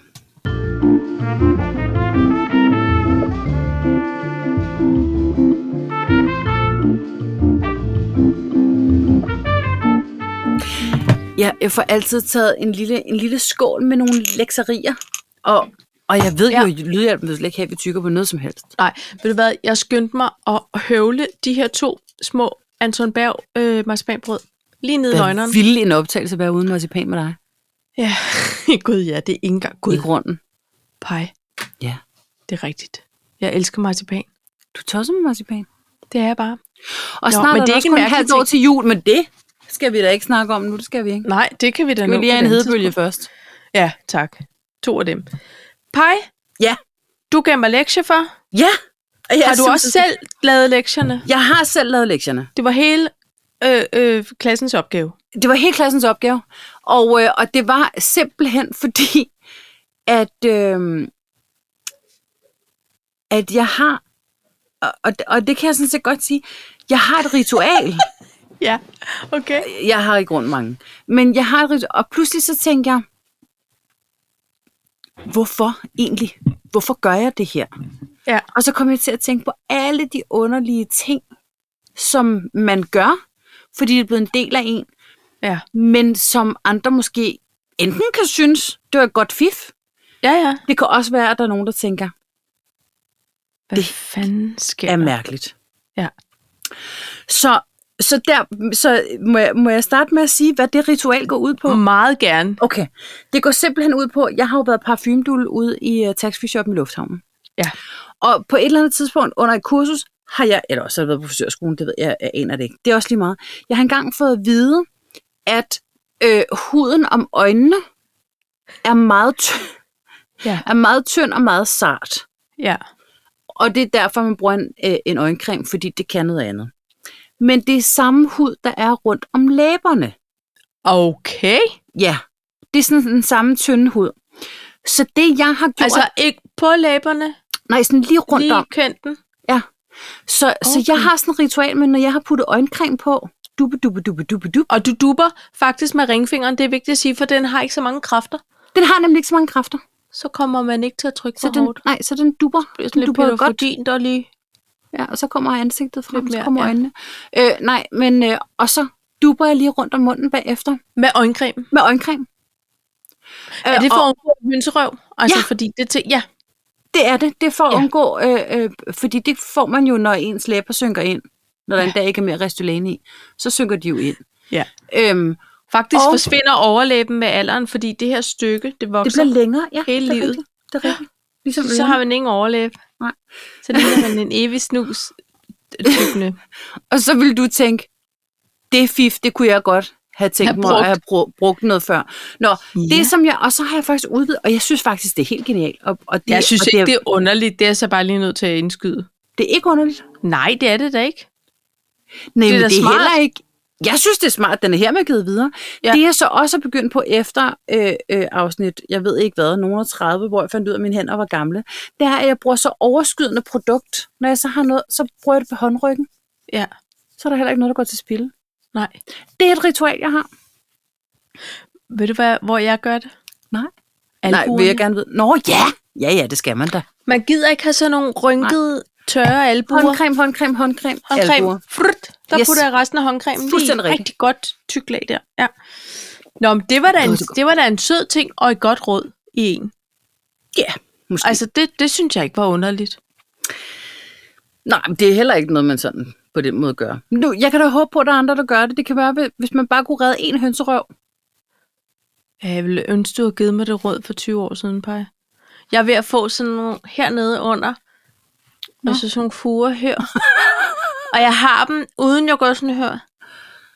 [SPEAKER 2] Ja, jeg får altid taget en lille, en lille skål med nogle lekserier. Og, og jeg ved
[SPEAKER 1] Ja.
[SPEAKER 2] ja. jo, at lydhjælpen vil slet ikke have, at vi tykker på noget som helst.
[SPEAKER 1] Nej, ved du hvad, jeg skyndte mig at høvle de her to små Anton Berg øh, marcipanbrød lige ned i
[SPEAKER 2] Hvad
[SPEAKER 1] højneren.
[SPEAKER 2] ville en optagelse være uden marcipan med dig?
[SPEAKER 1] Ja, gud ja, det er ikke engang
[SPEAKER 2] I
[SPEAKER 1] gud.
[SPEAKER 2] grunden.
[SPEAKER 1] Pej,
[SPEAKER 2] Ja.
[SPEAKER 1] det er rigtigt. Jeg elsker marcipan.
[SPEAKER 2] Du tosser med marcipan.
[SPEAKER 1] Det er jeg bare.
[SPEAKER 2] Og
[SPEAKER 1] Nå,
[SPEAKER 2] snart
[SPEAKER 1] men
[SPEAKER 2] er
[SPEAKER 1] det
[SPEAKER 2] det
[SPEAKER 1] er
[SPEAKER 2] også
[SPEAKER 1] ikke en
[SPEAKER 2] kun et
[SPEAKER 1] mærkelig
[SPEAKER 2] halvt år til jul, men det skal vi da ikke snakke om nu. Det skal vi ikke.
[SPEAKER 1] Nej, det kan vi da
[SPEAKER 2] Skal vi
[SPEAKER 1] nå
[SPEAKER 2] lige
[SPEAKER 1] på
[SPEAKER 2] have en
[SPEAKER 1] et andet
[SPEAKER 2] hedebølge først?
[SPEAKER 1] tidspunkt. Ja, tak. To af dem. Pej,
[SPEAKER 2] Ja.
[SPEAKER 1] du gav mig lektier for.
[SPEAKER 2] Ja. Og jeg
[SPEAKER 1] Har du
[SPEAKER 2] synes,
[SPEAKER 1] også
[SPEAKER 2] det-
[SPEAKER 1] selv lavet lektierne?
[SPEAKER 2] Jeg har selv lavet lektierne.
[SPEAKER 1] Det var hele øh, øh, klassens opgave.
[SPEAKER 2] Det var helt klassens opgave. Og, øh, og det var simpelthen fordi, at, øh, at jeg har, og, og, og det kan jeg sådan set godt sige, jeg har et ritual.
[SPEAKER 1] Ja, okay.
[SPEAKER 2] jeg har i grunden mange. Men jeg har et ritual, og pludselig så tænker jeg, hvorfor egentlig? Hvorfor gør jeg det her?
[SPEAKER 1] Ja.
[SPEAKER 2] Og så kom jeg til at tænke på alle de underlige ting, som man gør, fordi det er blevet en del af en,
[SPEAKER 1] Ja,
[SPEAKER 2] men som andre måske enten kan synes, det var et godt fif.
[SPEAKER 1] ja. ja.
[SPEAKER 2] Det kan også være, at der er nogen, der tænker,
[SPEAKER 1] Hvad fanden sker
[SPEAKER 2] er
[SPEAKER 1] der?
[SPEAKER 2] mærkeligt.
[SPEAKER 1] Ja.
[SPEAKER 2] Så, så der så må, jeg, må jeg starte med at sige, hvad det ritual går ud på?
[SPEAKER 1] Meget gerne.
[SPEAKER 2] Okay. Det går simpelthen ud på, jeg har jo været parfumedul ude i uh, Tax Free Shop i Lufthavnen.
[SPEAKER 1] Ja.
[SPEAKER 2] Og på et eller andet tidspunkt under et kursus har jeg, eller også har jeg været på frisørskolen, det ved jeg, jeg aner det ikke. Det er også lige meget. Jeg har engang fået at vide, at øh, huden om øjnene er meget, ty-
[SPEAKER 1] Ja.
[SPEAKER 2] er meget tynd og meget sart.
[SPEAKER 1] Ja.
[SPEAKER 2] Og det er derfor, man bruger en, øh, en øjencreme, fordi det kan noget andet. Men det er samme hud, der er rundt om læberne.
[SPEAKER 1] Okay.
[SPEAKER 2] Ja, det er sådan den samme tynde hud. Så det, jeg har gjort,
[SPEAKER 1] Altså
[SPEAKER 2] altså,
[SPEAKER 1] ikke på læberne,
[SPEAKER 2] nej, sådan lige rundt
[SPEAKER 1] lige
[SPEAKER 2] lige... om.
[SPEAKER 1] kanten.
[SPEAKER 2] Så, okay. så
[SPEAKER 1] Okay.
[SPEAKER 2] jeg har sådan et ritual, men når jeg har puttet øjencreme på, duppe, duppe, duppe, duppe, duppe,
[SPEAKER 1] Og du dupper faktisk med ringfingeren, det er vigtigt at sige, for den har ikke så mange kræfter.
[SPEAKER 2] den har nemlig ikke så mange kræfter.
[SPEAKER 1] Så kommer man ikke til at trykke
[SPEAKER 2] Så
[SPEAKER 1] for
[SPEAKER 2] den,
[SPEAKER 1] hårdt.
[SPEAKER 2] nej, så den dupper.
[SPEAKER 1] Det er
[SPEAKER 2] Den
[SPEAKER 1] lidt
[SPEAKER 2] dupper godt.
[SPEAKER 1] pædofodin, der lige...
[SPEAKER 2] Ja, og så kommer ansigtet frem, mere,
[SPEAKER 1] Lidt mere,
[SPEAKER 2] så kommer
[SPEAKER 1] ja.
[SPEAKER 2] øjnene. Øh, nej, men øh, og så dupper jeg lige rundt om munden bagefter
[SPEAKER 1] Med øjencreme.
[SPEAKER 2] med øjencreme.
[SPEAKER 1] Er det
[SPEAKER 2] Øh,
[SPEAKER 1] for
[SPEAKER 2] og
[SPEAKER 1] at undgå hønserøv? Altså,
[SPEAKER 2] Ja.
[SPEAKER 1] fordi det til, ja,
[SPEAKER 2] det er det. Det er for at
[SPEAKER 1] Ja.
[SPEAKER 2] undgå, øh, øh, fordi det får man jo, når ens læber synker ind. Når der ja. en dag ikke er mere restylane i, så synker de jo ind.
[SPEAKER 1] Ja.
[SPEAKER 2] Øhm,
[SPEAKER 1] faktisk
[SPEAKER 2] Og-
[SPEAKER 1] og... forsvinder overlæben med alderen, fordi det her stykke, det
[SPEAKER 2] det
[SPEAKER 1] vokser.
[SPEAKER 2] bliver længere, ja.
[SPEAKER 1] Hele
[SPEAKER 2] det er
[SPEAKER 1] livet.
[SPEAKER 2] rigtigt. Det er rigtigt. Ligesom
[SPEAKER 1] så har man ingen overlæb.
[SPEAKER 2] Nej.
[SPEAKER 1] Så ligner man en evig snus tykkende.
[SPEAKER 2] Og så vil du tænke, det fif, det kunne jeg godt have tænkt
[SPEAKER 1] Have
[SPEAKER 2] mig at
[SPEAKER 1] brugt.
[SPEAKER 2] have brugt, brugt noget før. Nå, ja.
[SPEAKER 1] Ja.
[SPEAKER 2] det som jeg, og så har jeg faktisk udvidet, og jeg synes faktisk, det er helt genialt. Og, og det,
[SPEAKER 1] Jeg synes
[SPEAKER 2] og
[SPEAKER 1] ikke,
[SPEAKER 2] det,
[SPEAKER 1] det er underligt. Det er jeg så bare lige nødt til at indskyde.
[SPEAKER 2] det er ikke underligt.
[SPEAKER 1] Nej, det er det da ikke.
[SPEAKER 2] Nej,
[SPEAKER 1] Det er
[SPEAKER 2] det er,
[SPEAKER 1] da
[SPEAKER 2] det er
[SPEAKER 1] smart.
[SPEAKER 2] heller ikke. Jeg synes, det er smart, at den er her med givet videre. Ja.
[SPEAKER 1] Ja.
[SPEAKER 2] Det jeg så også er begyndt på efter øh, øh, afsnit, jeg ved ikke hvad, nogen af 30, hvor jeg fandt ud af, at mine hænder var gamle, det er, at jeg bruger så overskydende produkt. Når jeg så har noget, så bruger jeg det på håndryggen.
[SPEAKER 1] Ja,
[SPEAKER 2] Så er der heller ikke noget, der går til spil.
[SPEAKER 1] nej.
[SPEAKER 2] Det er et ritual, jeg har.
[SPEAKER 1] Ved du, hvad, hvor jeg gør det?
[SPEAKER 2] Nej. Nej,
[SPEAKER 1] Albuerne.
[SPEAKER 2] vil jeg gerne vide. Nå ja! Ja, ja, det skal man da.
[SPEAKER 1] Man gider ikke have sådan nogle rynkede, tørre albuer.
[SPEAKER 2] Håndcreme, håndcreme, håndcreme. Albuer.
[SPEAKER 1] Håndcreme. Frut, der
[SPEAKER 2] Yes.
[SPEAKER 1] yes. putter jeg resten af håndcremen lige
[SPEAKER 2] Fuldstændig
[SPEAKER 1] i
[SPEAKER 2] rigtigt.
[SPEAKER 1] rigtig godt tyk lag der. Ja. Nå, men det var, da
[SPEAKER 2] Det
[SPEAKER 1] en,
[SPEAKER 2] var så godt.
[SPEAKER 1] det var da en sød ting og et godt råd i en.
[SPEAKER 2] Ja, måske. Altså,
[SPEAKER 1] Altså, det, det synes jeg ikke var underligt.
[SPEAKER 2] nej, men det er heller ikke noget, man sådan på den måde gør. Men Nu, jeg kan da håbe på, at der er andre, der gør det. Det kan være, hvis man bare kunne redde en hønserøv.
[SPEAKER 1] Ja, Jeg ville ønske, du havde givet mig det råd for 20 år siden, Paj. Jeg er ved at få sådan nogle hernede under,
[SPEAKER 2] Nå.
[SPEAKER 1] og så sådan nogle fuger her. og jeg har dem, uden jeg går sådan her,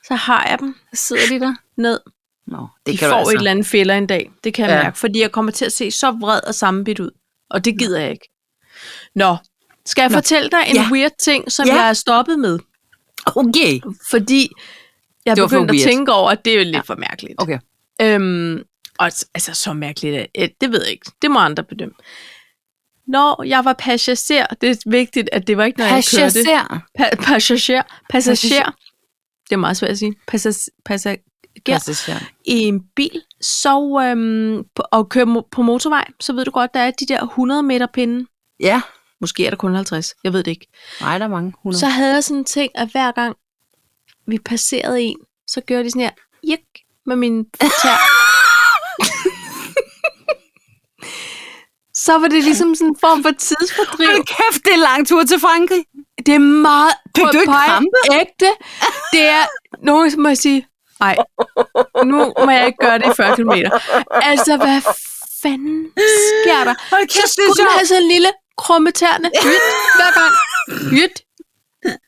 [SPEAKER 1] så har jeg dem
[SPEAKER 2] Så sidder de der.
[SPEAKER 1] ned.
[SPEAKER 2] Nå, det
[SPEAKER 1] Det de
[SPEAKER 2] kan
[SPEAKER 1] får
[SPEAKER 2] du
[SPEAKER 1] altså. et
[SPEAKER 2] altså.
[SPEAKER 1] eller andet fælder en dag. Det kan jeg
[SPEAKER 2] Ja.
[SPEAKER 1] ja. mærke, fordi jeg kommer til at se så vred og sammenbidt ud. Og det gider jeg ikke. Nå, skal jeg
[SPEAKER 2] Nå.
[SPEAKER 1] Nå. fortælle dig en
[SPEAKER 2] Ja.
[SPEAKER 1] ja. weird ting, som
[SPEAKER 2] Ja.
[SPEAKER 1] ja. jeg er stoppet med?
[SPEAKER 2] Okay.
[SPEAKER 1] Fordi jeg
[SPEAKER 2] Det var for
[SPEAKER 1] begyndte at
[SPEAKER 2] weird.
[SPEAKER 1] tænke over, at det er jo lidt ja. for mærkeligt.
[SPEAKER 2] Okay.
[SPEAKER 1] Øhm, og s- altså, så mærkeligt, er- eh, det ved jeg ikke. Det må andre bedømme. Når jeg var passager, det er vigtigt, at det var ikke, når jeg kørte.
[SPEAKER 2] Passager.
[SPEAKER 1] Pa- passager.
[SPEAKER 2] Passager.
[SPEAKER 1] Passager. Det er meget svært at sige. Passas- passager
[SPEAKER 2] Passager.
[SPEAKER 1] i en bil så, øhm, på, og kører mo- på motorvej, så ved du godt, der er de der 100 meter pinde.
[SPEAKER 2] Ja.
[SPEAKER 1] Måske er der kun 50, jeg ved det ikke.
[SPEAKER 2] Nej, der er mange. 100.
[SPEAKER 1] Så havde jeg sådan en ting, at hver gang vi passerede en, så gjorde de sådan her, jik, med min tær. så var det ligesom sådan en form for tidsfordriv.
[SPEAKER 2] Hold kæft, det er en lang tur til Frankrig.
[SPEAKER 1] Det er meget
[SPEAKER 2] Fik du ikke
[SPEAKER 1] pege-
[SPEAKER 2] krampe?
[SPEAKER 1] ægte. Det er nogen, som må sige, nej, nu må jeg ikke gøre det i 40 km. Altså, hvad fanden sker der?
[SPEAKER 2] Hold
[SPEAKER 1] Så skulle den have sådan en lille krummetærne jyt hver gang. Jyt.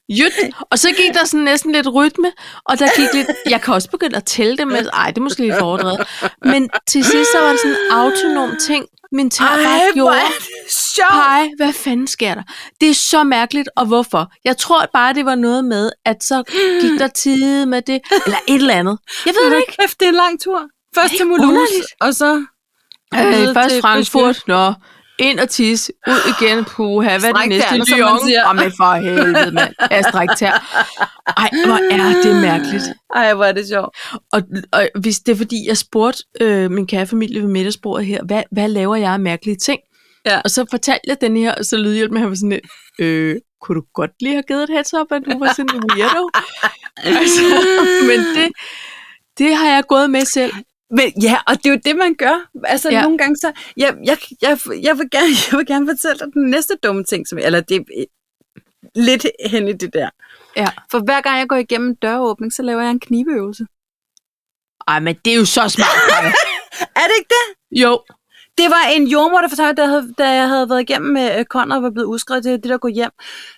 [SPEAKER 1] Jyt. Og så gik der sådan næsten lidt rytme, og der gik lidt... Jeg kan også begynde at tælle det, men ej, det er måske lidt foredrevet. Men til sidst så var det sådan en autonom ting, min tær
[SPEAKER 2] Ej,
[SPEAKER 1] bare
[SPEAKER 2] hvor
[SPEAKER 1] gjorde.
[SPEAKER 2] er det sjovt.
[SPEAKER 1] Hej, hvad fanden sker der? Det er så mærkeligt, og hvorfor? Jeg tror bare, det var noget med, at så gik der tid med det, eller et eller andet. Jeg ved det
[SPEAKER 2] Hold
[SPEAKER 1] ikke.
[SPEAKER 2] kæft, det er en lang tur. Først til Mulhouse,
[SPEAKER 1] underligt.
[SPEAKER 2] og så...
[SPEAKER 1] Øh,
[SPEAKER 2] ned
[SPEAKER 1] først
[SPEAKER 2] til
[SPEAKER 1] Frankfurt, nå, ind og tisse, ud igen, puha, hvad er
[SPEAKER 2] Stræk
[SPEAKER 1] det næste?
[SPEAKER 2] tæerne, som man
[SPEAKER 1] Lyon,
[SPEAKER 2] siger.
[SPEAKER 1] jamen for helvede, mand. Jeg strækker tær. Ej, hvor er det mærkeligt.
[SPEAKER 2] Ej, hvor er det sjovt.
[SPEAKER 1] Og, og hvis det er fordi, jeg spurgte øh, min kære familie ved middagsbordet her, hvad, hvad laver jeg af mærkelige ting?
[SPEAKER 2] Ja.
[SPEAKER 1] Og så fortalte jeg den her, og så lød hjælp med, han var sådan lidt, øh, kunne du godt lige have givet et heads up, at du var sådan en weirdo? altså, men det, det har jeg gået med selv.
[SPEAKER 2] Men ja, og det er jo det, man gør. Altså ja.
[SPEAKER 1] Ja.
[SPEAKER 2] nogle gange så... Jeg, jeg, jeg, jeg, vil gerne, jeg vil gerne fortælle dig den næste dumme ting, som... Eller det er øh, lidt hen i det der.
[SPEAKER 1] Ja.
[SPEAKER 2] For hver gang jeg går igennem en døråbning, så laver jeg en knibeøvelse.
[SPEAKER 1] Ej, men det er jo så smart. Maja.
[SPEAKER 2] Er det ikke det?
[SPEAKER 1] jo,
[SPEAKER 2] Det var en jordmor, der fortalte, da jeg havde, da jeg havde været igennem med øh, Conrad og var blevet udskrevet til det der går hjem.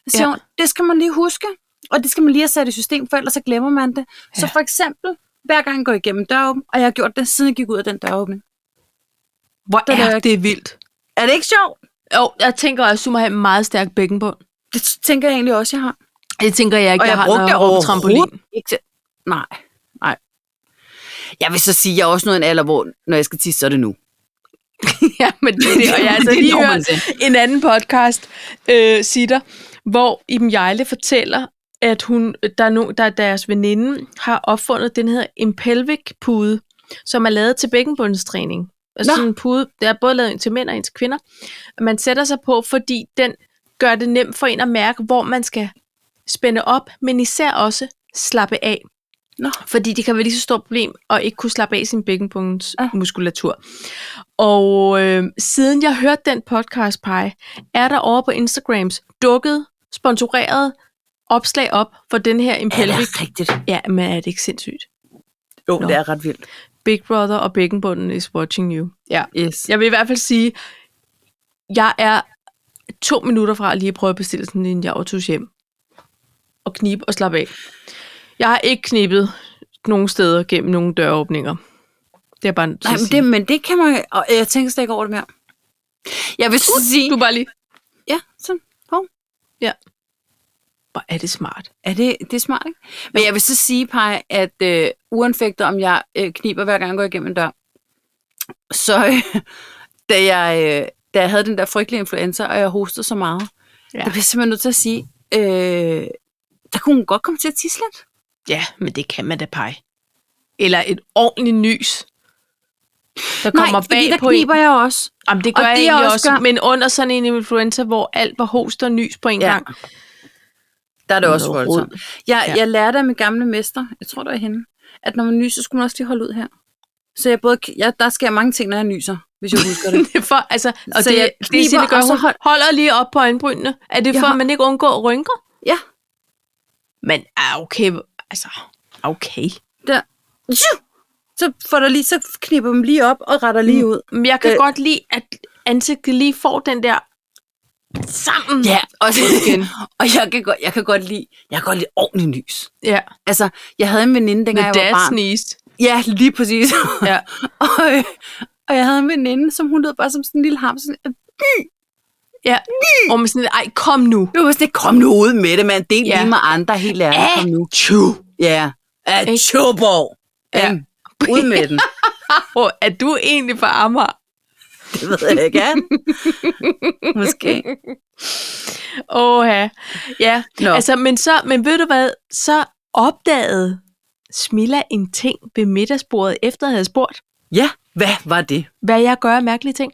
[SPEAKER 2] Så ja.
[SPEAKER 1] Ja.
[SPEAKER 2] hun, det skal man lige huske, og det skal man lige have sat i system, for ellers så glemmer man det. Ja. Så
[SPEAKER 1] Ja.
[SPEAKER 2] for eksempel, hver gang jeg går igennem døråbning, og jeg har gjort det, siden jeg gik ud af den døråbning.
[SPEAKER 1] hvor
[SPEAKER 2] Det er
[SPEAKER 1] er det vildt.
[SPEAKER 2] Er det ikke sjovt?
[SPEAKER 1] Jo, jeg tænker også, du må have en meget stærk bækkenbund.
[SPEAKER 2] Det tænker jeg egentlig også, jeg har.
[SPEAKER 1] Det tænker jeg ikke,
[SPEAKER 2] og jeg,
[SPEAKER 1] har,
[SPEAKER 2] brugte
[SPEAKER 1] når
[SPEAKER 2] det
[SPEAKER 1] jeg var på trampolin.
[SPEAKER 2] Ikke til, nej, nej. Jeg vil så sige, at jeg er også nået en alder, hvor når jeg skal tisse, så er det nu.
[SPEAKER 1] ja, men det, er det, og jeg har altså
[SPEAKER 2] Det
[SPEAKER 1] lige
[SPEAKER 2] når man
[SPEAKER 1] hørt en anden podcast, øh, sitter, hvor Iben Jejle fortæller, at hun, der, er nogen, der er deres veninde har opfundet, den hedder en pelvic-pude, som er lavet til bækkenbundstræning. Altså
[SPEAKER 2] Nå.
[SPEAKER 1] sådan en pude, der er både lavet en til mænd og en til kvinder. Man sætter sig på, fordi den gør det nemt for en at mærke, hvor man skal spænde op, men især også slappe af.
[SPEAKER 2] Nå.
[SPEAKER 1] Fordi det kan være lige så stort problem at ikke kunne slappe af sin bækkenbunds
[SPEAKER 2] Ah.
[SPEAKER 1] muskulatur. Og øh, siden jeg hørte den podcast, Pie, er der over på Instagrams dukket, sponsoreret opslag op for den her
[SPEAKER 2] Er det
[SPEAKER 1] impelvic.
[SPEAKER 2] rigtigt?
[SPEAKER 1] Ja, men er det ikke sindssygt?
[SPEAKER 2] Jo,
[SPEAKER 1] Nå.
[SPEAKER 2] det er ret vildt.
[SPEAKER 1] Big Brother og bækkenbunden is watching you. Ja.
[SPEAKER 2] Yes.
[SPEAKER 1] Jeg vil i hvert fald sige, jeg er to minutter fra lige at prøve at bestille sådan en javertus hjem. Og knibe og slappe af. Jeg har ikke knippet nogen steder gennem nogen døråbninger. Det er bare nødt til
[SPEAKER 2] Nej,
[SPEAKER 1] at
[SPEAKER 2] men
[SPEAKER 1] sige.
[SPEAKER 2] det, men det kan man... Og jeg tænker slet ikke over det mere. Jeg vil så sige...
[SPEAKER 1] Du er bare lige,
[SPEAKER 2] Ja, sådan. Hov.
[SPEAKER 1] hvor er det smart.
[SPEAKER 2] Er det, det er smart, ikke? Men jeg vil så sige, Paj, at øh, uanfægtet om jeg øh, kniber hver gang jeg går igennem en dør, så øh, da, jeg, øh, da jeg havde den der frygtelige influenza, og jeg hostede så meget,
[SPEAKER 1] Ja.
[SPEAKER 2] ja. der blev jeg simpelthen nødt til at sige, øh, der kunne hun godt komme til at tisse lidt.
[SPEAKER 1] Ja, men det kan man da pege. Eller et ordentligt nys. Der kommer
[SPEAKER 2] Nej,
[SPEAKER 1] bag
[SPEAKER 2] fordi der
[SPEAKER 1] på en.
[SPEAKER 2] kniber jeg også.
[SPEAKER 1] Jamen, det
[SPEAKER 2] Og
[SPEAKER 1] gør jeg
[SPEAKER 2] det, jeg
[SPEAKER 1] egentlig
[SPEAKER 2] også
[SPEAKER 1] også,
[SPEAKER 2] gør-
[SPEAKER 1] men under sådan en influenza, hvor alt var host og nys på en
[SPEAKER 2] Ja.
[SPEAKER 1] gang.
[SPEAKER 2] Der er det
[SPEAKER 1] Noget
[SPEAKER 2] også voldsomt.
[SPEAKER 1] rod.
[SPEAKER 2] Jeg,
[SPEAKER 1] Ja.
[SPEAKER 2] ja. jeg lærte af min gamle mester, jeg tror det var hende, at når man nyser, så skulle man også lige holde ud her. Så jeg både, jeg, der sker mange ting, når jeg nyser, hvis jeg husker det.
[SPEAKER 1] Det er for, altså, og
[SPEAKER 2] Så
[SPEAKER 1] det,
[SPEAKER 2] jeg
[SPEAKER 1] det, det, siger,
[SPEAKER 2] kniber,
[SPEAKER 1] det gør
[SPEAKER 2] og så
[SPEAKER 1] hun. Hold...
[SPEAKER 2] hold-
[SPEAKER 1] Holder lige op på øjenbrynene. Er det
[SPEAKER 2] Jeg
[SPEAKER 1] for, at
[SPEAKER 2] har-
[SPEAKER 1] man ikke undgår rynker?
[SPEAKER 2] Ja,
[SPEAKER 1] Men ah, okay, altså, okay.
[SPEAKER 2] der. Tju! Så får der lige, så knipper man lige op og retter lige ud.
[SPEAKER 1] Men jeg kan øh...
[SPEAKER 2] Øh.
[SPEAKER 1] godt lide, at ansigtet lige får den der sammen.
[SPEAKER 2] Ja, og,
[SPEAKER 1] Igen.
[SPEAKER 2] og jeg, kan godt, jeg kan godt lide, jeg kan godt lide ordentlig nys.
[SPEAKER 1] ja.
[SPEAKER 2] Altså, jeg havde en veninde,
[SPEAKER 1] med
[SPEAKER 2] dengang jeg var
[SPEAKER 1] dad
[SPEAKER 2] barn.
[SPEAKER 1] sneezed.
[SPEAKER 2] Ja, lige præcis.
[SPEAKER 1] Ja.
[SPEAKER 2] og, øh, og jeg havde en veninde, som hun lød bare som sådan en lille ham. Sådan, "Øh,
[SPEAKER 1] Ja. Og man sådan lidt, ej, kom nu.
[SPEAKER 2] det var sådan, kom nu ud med det, mand. Det er
[SPEAKER 1] Ja.
[SPEAKER 2] ja. lige med andre, helt ærligt. Kom nu.
[SPEAKER 1] Tju.
[SPEAKER 2] Ja. Af
[SPEAKER 1] Ikke?
[SPEAKER 2] Tjoborg.
[SPEAKER 1] Ja.
[SPEAKER 2] Ja. Ud med den.
[SPEAKER 1] Hvor er du egentlig fra Amager?
[SPEAKER 2] Det ved jeg ikke. er den? Måske.
[SPEAKER 1] Åh, ja. ja.
[SPEAKER 2] Nå.
[SPEAKER 1] Altså, men, så, men ved du hvad? Så opdagede Smilla en ting ved middagsbordet, efter jeg havde spurgt,
[SPEAKER 2] Ja, hvad var det?
[SPEAKER 1] hvad jeg gør af mærkelige ting.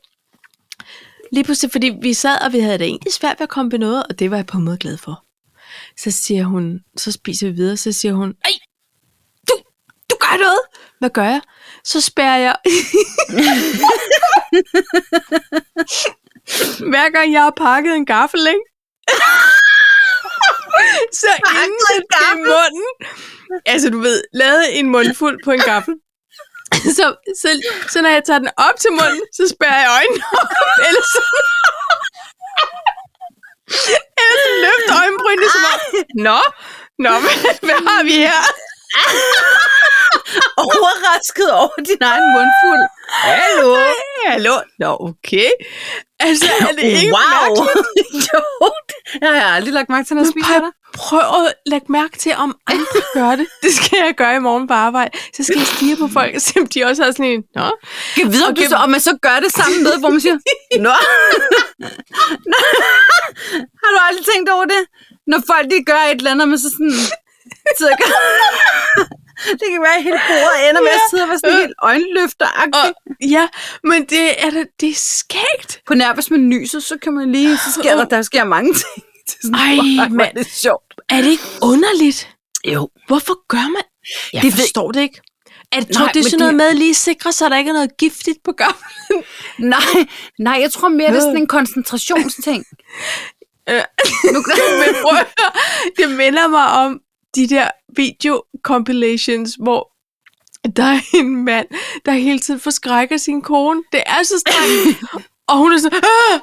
[SPEAKER 1] Lige pludselig, fordi vi sad, og vi havde det egentlig svært ved at komme ved noget, og det var jeg på en måde glad for. Så siger hun, så spiser vi videre, så siger hun, Ej, du, du gør noget. Hvad gør jeg? Så spærrer jeg. Hver gang jeg har pakket en gaffel, ikke? så inden
[SPEAKER 2] en
[SPEAKER 1] i
[SPEAKER 2] gaffel?
[SPEAKER 1] munden, altså du ved, lavet en mundfuld på en gaffel, så, så, så når jeg tager den op til munden, så spærrer jeg øjnene op, eller så, eller så løfter øjenbrynene som om, nå, nå, hvad, hvad har vi her?
[SPEAKER 2] Overrasket over din egen mundfuld.
[SPEAKER 1] Hallo? Hallo? Nå, okay. Altså, er det ikke
[SPEAKER 2] wow.
[SPEAKER 1] mærkeligt?
[SPEAKER 2] jo, det- jeg har aldrig lagt mærke til, når jeg spiser dig.
[SPEAKER 1] Prøv at lægge mærke til, om andre gør det. Det skal jeg gøre i morgen på arbejde. Så skal jeg stige på folk, og se om de også har sådan en, nå,
[SPEAKER 2] Kan vide, om,
[SPEAKER 1] du så-
[SPEAKER 2] om man så gør det sammen med, hvor man siger, Nå. Nå. har du aldrig tænkt over det? Når folk de gør et eller andet, men så sådan... Så gør... det kan være, at hele bordet ender med at sidde og være sådan helt øjenløfter
[SPEAKER 1] og, ja, men det er, da, det er skægt.
[SPEAKER 2] På nær, hvis man nyser, så kan man lige... Så sker der, der sker mange ting. Det er sådan,
[SPEAKER 1] Ej,
[SPEAKER 2] hvor er det
[SPEAKER 1] mand.
[SPEAKER 2] sjovt.
[SPEAKER 1] Er det ikke underligt?
[SPEAKER 2] Jo.
[SPEAKER 1] Hvorfor gør man?
[SPEAKER 2] Det
[SPEAKER 1] Jeg det
[SPEAKER 2] ved-
[SPEAKER 1] forstår det ikke. Er, tror
[SPEAKER 2] Nej,
[SPEAKER 1] du, det er
[SPEAKER 2] men
[SPEAKER 1] sådan
[SPEAKER 2] det-
[SPEAKER 1] noget med at lige sikre sig, at der ikke er noget giftigt på gavlen?
[SPEAKER 2] Nej, nej, jeg tror mere, det er sådan en koncentrationsting.
[SPEAKER 1] Øh.
[SPEAKER 2] nu,
[SPEAKER 1] Men prøv at høre, det minder mig om de der video-compilations, hvor der er en mand, der hele tiden forskrækker sin kone. Det er så strengt. Og hun er sådan, "Ah!"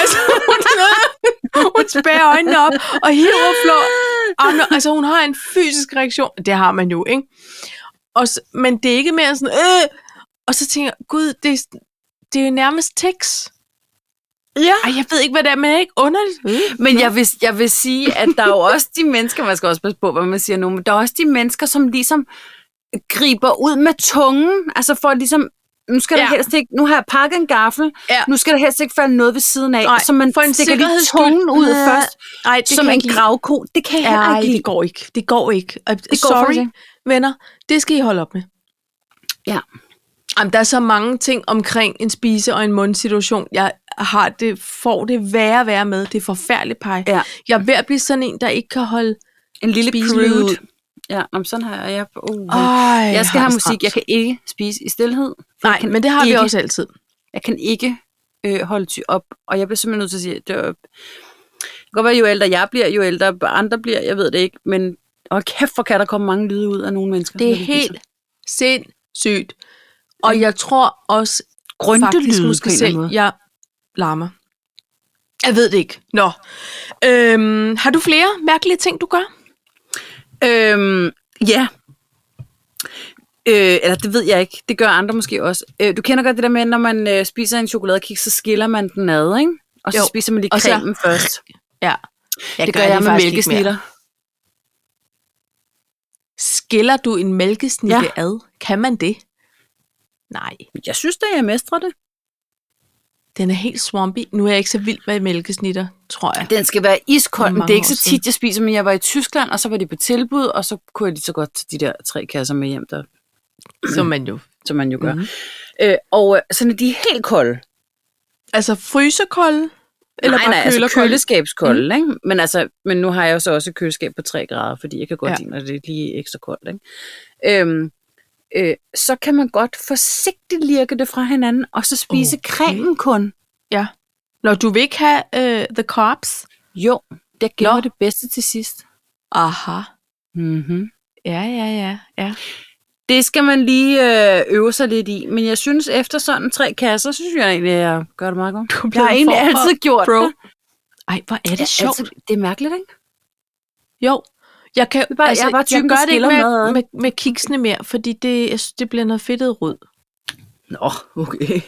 [SPEAKER 1] altså, hun, hun spærer øjnene op og hiver flår. Og når, altså, hun har en fysisk reaktion. Det har man jo, ikke? Og, s- men det er ikke mere sådan, øh! Og så tænker jeg, gud, det, er- det er jo nærmest tekst.
[SPEAKER 2] ja. Mm.
[SPEAKER 1] Ej, jeg ved ikke, hvad det er, men er det ikke underligt? Øh.
[SPEAKER 2] Men jeg vil, jeg vil sige, at der er jo også de mennesker, man skal også passe på, hvad man siger nu, men der er også de mennesker, som ligesom griber ud med tungen, altså for ligesom, nu skal
[SPEAKER 1] Ja.
[SPEAKER 2] der helst ikke, nu har jeg pakket en gaffel,
[SPEAKER 1] Ja.
[SPEAKER 2] nu skal der helst ikke falde noget ved siden af,
[SPEAKER 1] Nej,
[SPEAKER 2] så man
[SPEAKER 1] for en
[SPEAKER 2] stikker lige
[SPEAKER 1] sikkerheds skyld.
[SPEAKER 2] tungen ud
[SPEAKER 1] Ja.
[SPEAKER 2] først,
[SPEAKER 1] Ej,
[SPEAKER 2] det som en gravko. Det kan jeg heller
[SPEAKER 1] Nej,
[SPEAKER 2] ikke lide.
[SPEAKER 1] det går ikke. Det går ikke. Og det
[SPEAKER 2] går
[SPEAKER 1] sorry,
[SPEAKER 2] faktisk ikke.
[SPEAKER 1] venner. Det skal I holde op med.
[SPEAKER 2] Ja.
[SPEAKER 1] Jamen, der er så mange ting omkring en spise- og en mundsituation. Jeg har det, får det værre og værre med. Det er forfærdeligt, pej.
[SPEAKER 2] Ja.
[SPEAKER 1] Jeg er ved at blive sådan en, der ikke kan holde
[SPEAKER 2] En lille
[SPEAKER 1] spise
[SPEAKER 2] prude.
[SPEAKER 1] ud.
[SPEAKER 2] Ja, om sådan her. Jeg, uh,
[SPEAKER 1] Ej,
[SPEAKER 2] jeg skal
[SPEAKER 1] har
[SPEAKER 2] have
[SPEAKER 1] det
[SPEAKER 2] musik.
[SPEAKER 1] stramt.
[SPEAKER 2] Jeg kan ikke spise i stillhed. for jeg
[SPEAKER 1] Nej,
[SPEAKER 2] kan
[SPEAKER 1] men det har vi
[SPEAKER 2] ikke-
[SPEAKER 1] også altid.
[SPEAKER 2] Jeg kan ikke øh, holde ty op, og jeg bliver simpelthen nødt til at sige, det, var, det kan godt være, jo ældre jeg bliver, jo ældre andre bliver, jeg ved det ikke, men og kæft, hvor kan der komme mange lyde ud af nogle mennesker.
[SPEAKER 1] Det er
[SPEAKER 2] når de
[SPEAKER 1] helt
[SPEAKER 2] spiser.
[SPEAKER 1] sindssygt. Og jeg tror også, faktisk
[SPEAKER 2] Grøntelyde
[SPEAKER 1] måske
[SPEAKER 2] på en eller anden
[SPEAKER 1] selv,
[SPEAKER 2] måde.
[SPEAKER 1] jeg larmer. Jeg ved det ikke. Nå. Øhm, har du flere mærkelige ting, du gør?
[SPEAKER 2] Øhm, ja. Øh, eller det ved jeg ikke. Det gør andre måske også. Øh, du kender godt det der med, når man øh, spiser en chokoladekiks, så skiller man den ad, ikke? Og så
[SPEAKER 1] Jo.
[SPEAKER 2] jo. spiser man lige
[SPEAKER 1] Og så-
[SPEAKER 2] cremen først.
[SPEAKER 1] Ja.
[SPEAKER 2] det gør jeg med mælkesnitter.
[SPEAKER 1] Skiller du en mælkesnitte ja.
[SPEAKER 2] Ja.
[SPEAKER 1] ad? Kan man det? Nej.
[SPEAKER 2] Jeg synes da, jeg mestrer det.
[SPEAKER 1] Den er helt swampy. Nu er jeg ikke så vild med mælkesnitter, tror jeg.
[SPEAKER 2] Den skal være iskold, men det
[SPEAKER 1] Mange
[SPEAKER 2] er ikke
[SPEAKER 1] år
[SPEAKER 2] så
[SPEAKER 1] siden.
[SPEAKER 2] tit, jeg spiser, men jeg var i Tyskland, og så var de på tilbud, og så kunne jeg lige så godt tage de der tre kasser med hjem, der,
[SPEAKER 1] Som man jo...
[SPEAKER 2] som man jo gør.
[SPEAKER 1] Mhm.
[SPEAKER 2] Mm-hmm. Øh, og øh, sådan er de er helt kolde.
[SPEAKER 1] Altså frysekolde? Eller
[SPEAKER 2] nej,
[SPEAKER 1] bare Mhm.
[SPEAKER 2] nej, altså
[SPEAKER 1] kølerkolde?
[SPEAKER 2] køleskabskolde, mm. ikke? Men, altså, men nu har jeg jo så også et køleskab på 3 grader, fordi jeg kan godt
[SPEAKER 1] Ja.
[SPEAKER 2] ja. lide, når det er lige ekstra koldt, ikke? Øhm, øh, så kan man godt forsigtigt lirke det fra hinanden, og så spise
[SPEAKER 1] Okay.
[SPEAKER 2] okay. cremen kun.
[SPEAKER 1] Ja. Når du vil ikke have uh, the cops?
[SPEAKER 2] Jo, det gemmer
[SPEAKER 1] Nå.
[SPEAKER 2] det bedste til sidst.
[SPEAKER 1] Aha.
[SPEAKER 2] Mm-hmm.
[SPEAKER 1] Ja, ja, ja. ja.
[SPEAKER 2] Det skal man lige øh, øve sig lidt i, men jeg synes, efter sådan tre kasser, synes jeg egentlig, at jeg gør det meget godt.
[SPEAKER 1] Du er
[SPEAKER 2] Jeg har egentlig altid gjort
[SPEAKER 1] bro.
[SPEAKER 2] det.
[SPEAKER 1] Ej, hvor er det
[SPEAKER 2] Ja,
[SPEAKER 1] sjovt.
[SPEAKER 2] altså, det er mærkeligt, ikke?
[SPEAKER 1] Jo, jeg kan altså,
[SPEAKER 2] er bare- jeg er bare typen, der
[SPEAKER 1] gør det ikke
[SPEAKER 2] skiller
[SPEAKER 1] med,
[SPEAKER 2] maden.
[SPEAKER 1] med, med kiksene mere, fordi det, jeg synes, det bliver noget fedtet rød.
[SPEAKER 2] Nå, okay.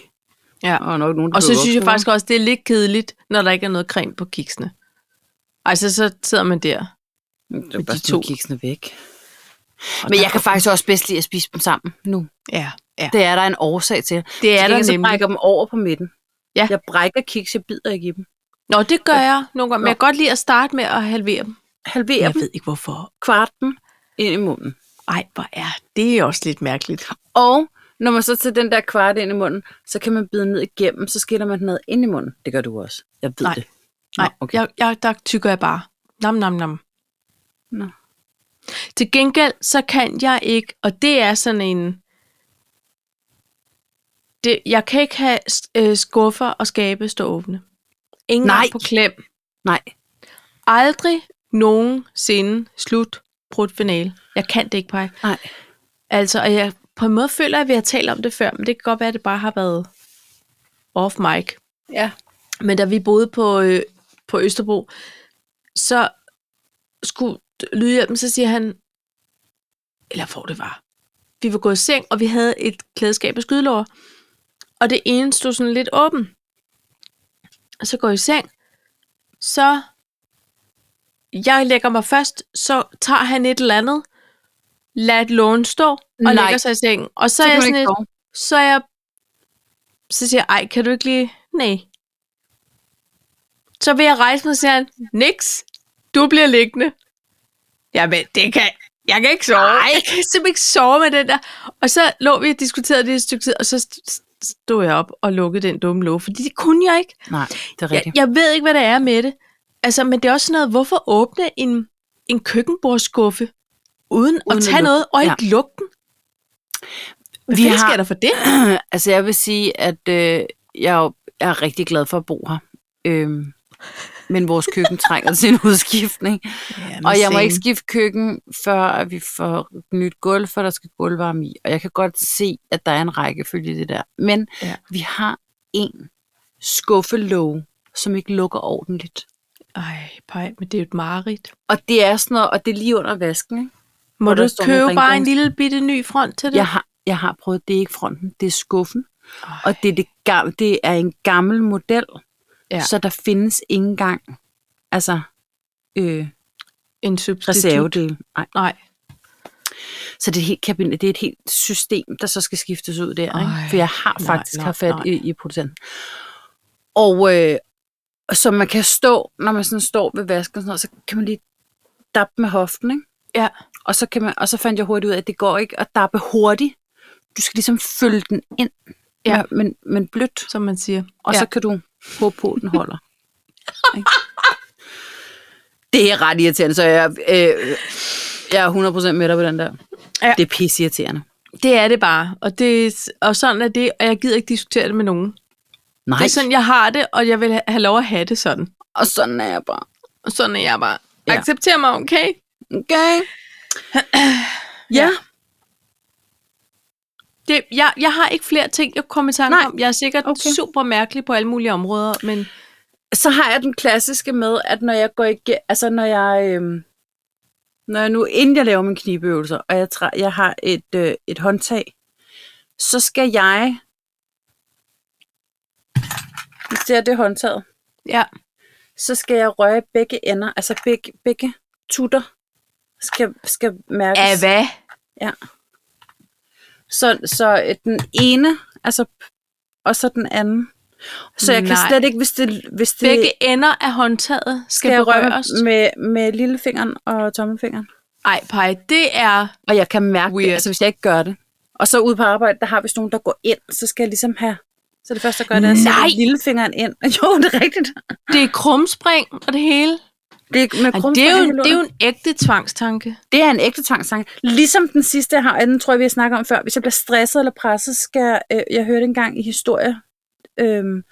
[SPEAKER 1] Ja.
[SPEAKER 2] Og, nok nogen, der
[SPEAKER 1] Og så
[SPEAKER 2] dukker
[SPEAKER 1] synes
[SPEAKER 2] op
[SPEAKER 1] jeg
[SPEAKER 2] for mig.
[SPEAKER 1] faktisk også, det er lidt kedeligt, når der ikke er noget creme på kiksene. Altså, så sidder man
[SPEAKER 2] Det
[SPEAKER 1] der. var
[SPEAKER 2] var
[SPEAKER 1] bare
[SPEAKER 2] bare
[SPEAKER 1] sådan,
[SPEAKER 2] to
[SPEAKER 1] at
[SPEAKER 2] kiksene væk.
[SPEAKER 1] Og
[SPEAKER 2] Men
[SPEAKER 1] der
[SPEAKER 2] jeg kan faktisk også bedst lide at spise dem sammen nu.
[SPEAKER 1] Ja, ja.
[SPEAKER 2] Det er der en årsag til.
[SPEAKER 1] Det er
[SPEAKER 2] Til
[SPEAKER 1] der
[SPEAKER 2] gengæld så
[SPEAKER 1] nemlig.
[SPEAKER 2] brækker jeg dem over på midten.
[SPEAKER 1] Ja.
[SPEAKER 2] Jeg brækker kiks, jeg bider ikke i dem.
[SPEAKER 1] Nå, det gør jeg nogle gange, men
[SPEAKER 2] Nå.
[SPEAKER 1] jeg kan godt lide at starte med at halvere dem.
[SPEAKER 2] Halverer
[SPEAKER 1] Jeg
[SPEAKER 2] dem,
[SPEAKER 1] ved ikke, hvorfor.
[SPEAKER 2] kvarten ind i munden.
[SPEAKER 1] Ej, hvor er det også lidt mærkeligt.
[SPEAKER 2] Og når man så tager den der kvart ind i munden, så kan man bide ned igennem, så skiller man den ned ind i munden. Det gør du også. Jeg ved
[SPEAKER 1] Nej.
[SPEAKER 2] det. Nå,
[SPEAKER 1] Nej, okay. jeg, jeg, der tykker jeg bare. Nam, nam, nam.
[SPEAKER 2] Nå.
[SPEAKER 1] Til gengæld, så kan jeg ikke, og det er sådan en... Det, jeg kan ikke have øh, skuffer og skabe stå åbne. Ingen
[SPEAKER 2] Nej.
[SPEAKER 1] gang på klem.
[SPEAKER 2] Nej.
[SPEAKER 1] Aldrig nogensinde slut brudt finale. Jeg kan det ikke, Paj.
[SPEAKER 2] Nej.
[SPEAKER 1] Altså, og jeg, på en måde føler jeg, at vi har talt om det før, men det kan godt være, at det bare har været off mic.
[SPEAKER 2] Ja.
[SPEAKER 1] Men da vi boede på, øh, på Østerbro, så skulle lydhjælpen, så siger han, eller hvor det var, vi var gået i seng, og vi havde et klædeskab af skydelårer, og det ene stod sådan lidt åben. Og så går jeg i seng, så jeg lægger mig først, så tager han et eller andet, lader et lån stå, og
[SPEAKER 2] Nej.
[SPEAKER 1] lægger sig i sengen. Og så, så er jeg sådan lidt, så er jeg, så siger jeg, ej, kan du ikke lige, nej. Så vil jeg rejse mig, og siger han, niks, du bliver liggende. Jamen, det kan, jeg kan ikke sove. Ej. Jeg kan simpelthen ikke sove med den der. Og så lå vi og diskuterede det et stykke tid, og så st- st- stod jeg op og lukkede den dumme låge, fordi det kunne jeg ikke.
[SPEAKER 2] Nej, det er
[SPEAKER 1] Jeg,
[SPEAKER 2] rigtigt.
[SPEAKER 1] jeg ved ikke, hvad der er med det. Altså, men det er også sådan noget, hvorfor åbne en, en køkkenbordskuffe, uden, uden
[SPEAKER 2] Uden
[SPEAKER 1] at
[SPEAKER 2] at
[SPEAKER 1] tage
[SPEAKER 2] lukke-
[SPEAKER 1] noget og
[SPEAKER 2] ja.
[SPEAKER 1] ikke lukke den? Hvad
[SPEAKER 2] Vi
[SPEAKER 1] fanden
[SPEAKER 2] har-
[SPEAKER 1] sker der for det?
[SPEAKER 2] altså, jeg vil sige, at øh, jeg er jo- jeg er rigtig glad for at bo her. Øhm, men vores køkken trænger til en udskiftning.
[SPEAKER 1] Jamen,
[SPEAKER 2] Og jeg må ikke skifte køkken, før at vi får et nyt gulv, for der skal gulvvarme i. Og jeg kan godt se, at der er en rækkefølge i det der. Men
[SPEAKER 1] Ja.
[SPEAKER 2] ja. vi har en skuffelåge, som ikke lukker ordentligt.
[SPEAKER 1] Ej, pej, men det er jo et mareridt.
[SPEAKER 2] Og det er sådan noget, og det er lige under vasken. Ikke?
[SPEAKER 1] Må
[SPEAKER 2] Hvor
[SPEAKER 1] du
[SPEAKER 2] der står nogle
[SPEAKER 1] købe bare en
[SPEAKER 2] rengørings-
[SPEAKER 1] lille bitte ny front til det?
[SPEAKER 2] Jeg, har, jeg har prøvet, det er ikke fronten, det er skuffen.
[SPEAKER 1] Ej.
[SPEAKER 2] Og det er, det, gamle, det er en gammel model,
[SPEAKER 1] Ja.
[SPEAKER 2] ja. så der findes ikke engang altså, øh,
[SPEAKER 1] en substitut.
[SPEAKER 2] reservedel. Nej.
[SPEAKER 1] Nej.
[SPEAKER 2] Så det er, et helt kabinet, det er et helt system, der så skal skiftes ud der.
[SPEAKER 1] Ej,
[SPEAKER 2] Ikke? For jeg har
[SPEAKER 1] nej,
[SPEAKER 2] faktisk
[SPEAKER 1] nej,
[SPEAKER 2] nej, haft fat
[SPEAKER 1] nej.
[SPEAKER 2] i, i producenten. Og øh, så man kan stå, når man sådan står ved vasken, og sådan noget, så kan man lige dappe med hoften. Ikke?
[SPEAKER 1] Ja.
[SPEAKER 2] Og, så kan man, og så fandt jeg hurtigt ud af, at det går ikke at dappe hurtigt. Du skal ligesom følge den ind,
[SPEAKER 1] Ja.
[SPEAKER 2] ja. men, men blødt.
[SPEAKER 1] Som man siger.
[SPEAKER 2] Og
[SPEAKER 1] ja.
[SPEAKER 2] ja. så kan du håbe på, at den holder. Ikke? det er ret irriterende, så jeg... Øh, Jeg er 100% med dig på den der.
[SPEAKER 1] Ja.
[SPEAKER 2] Ja. Det er pisseirriterende.
[SPEAKER 1] Det er det bare, og, det, og sådan er det, og jeg gider ikke diskutere det med nogen. Nej.
[SPEAKER 2] Nej,
[SPEAKER 1] Det er sådan, jeg har det, og jeg vil ha- have lov at have det sådan.
[SPEAKER 2] og sådan er jeg bare.
[SPEAKER 1] Og sådan er jeg bare. Ja.
[SPEAKER 2] Ja.
[SPEAKER 1] Accepter mig, okay?
[SPEAKER 2] Okay. ja.
[SPEAKER 1] Det, jeg, jeg har ikke flere ting, jeg kunne komme i tanke
[SPEAKER 2] Nej.
[SPEAKER 1] om. Jeg er sikkert okay.
[SPEAKER 2] Okay.
[SPEAKER 1] super mærkelig på alle mulige områder, men
[SPEAKER 2] så har jeg den klassiske med, at når jeg går igen, altså når jeg, øhm, når jeg nu, inden jeg laver mine knibeøvelser, og jeg, træ, jeg har et, øh, et håndtag, så skal jeg, hvis det er det håndtaget,
[SPEAKER 1] ja.
[SPEAKER 2] så skal jeg røre i begge ender, altså begge, begge tutter skal, skal mærkes.
[SPEAKER 1] hvad?
[SPEAKER 2] Så, så øh, den ene, altså, og så den anden. Så jeg kan
[SPEAKER 1] Nej.
[SPEAKER 2] slet ikke, hvis det... Hvis det
[SPEAKER 1] Begge ender af håndtaget skal,
[SPEAKER 2] skal jeg røre
[SPEAKER 1] berøres.
[SPEAKER 2] med, med, med lillefingeren og tommelfingeren.
[SPEAKER 1] Ej, Paj, det er...
[SPEAKER 2] Og jeg kan mærke
[SPEAKER 1] Weird.
[SPEAKER 2] det, altså hvis jeg ikke gør det. Og så ude på arbejde, der har vi sådan nogen, der går ind, så skal jeg ligesom have... Så det første, jeg gør, det er at
[SPEAKER 1] Nej!
[SPEAKER 2] sætte lillefingeren ind. Jo, det er rigtigt.
[SPEAKER 1] Det er krumspring og det hele.
[SPEAKER 2] Det er, med
[SPEAKER 1] Ej,
[SPEAKER 2] krumspring
[SPEAKER 1] det, er jo,
[SPEAKER 2] og hele
[SPEAKER 1] det er jo
[SPEAKER 2] lortet.
[SPEAKER 1] en ægte tvangstanke.
[SPEAKER 2] det er en ægte tvangstanke. Ligesom den sidste, jeg har, og den tror jeg, vi har snakket om før. Hvis jeg bliver stresset eller presset, skal jeg... Øh, jeg hørte engang i historie øhm,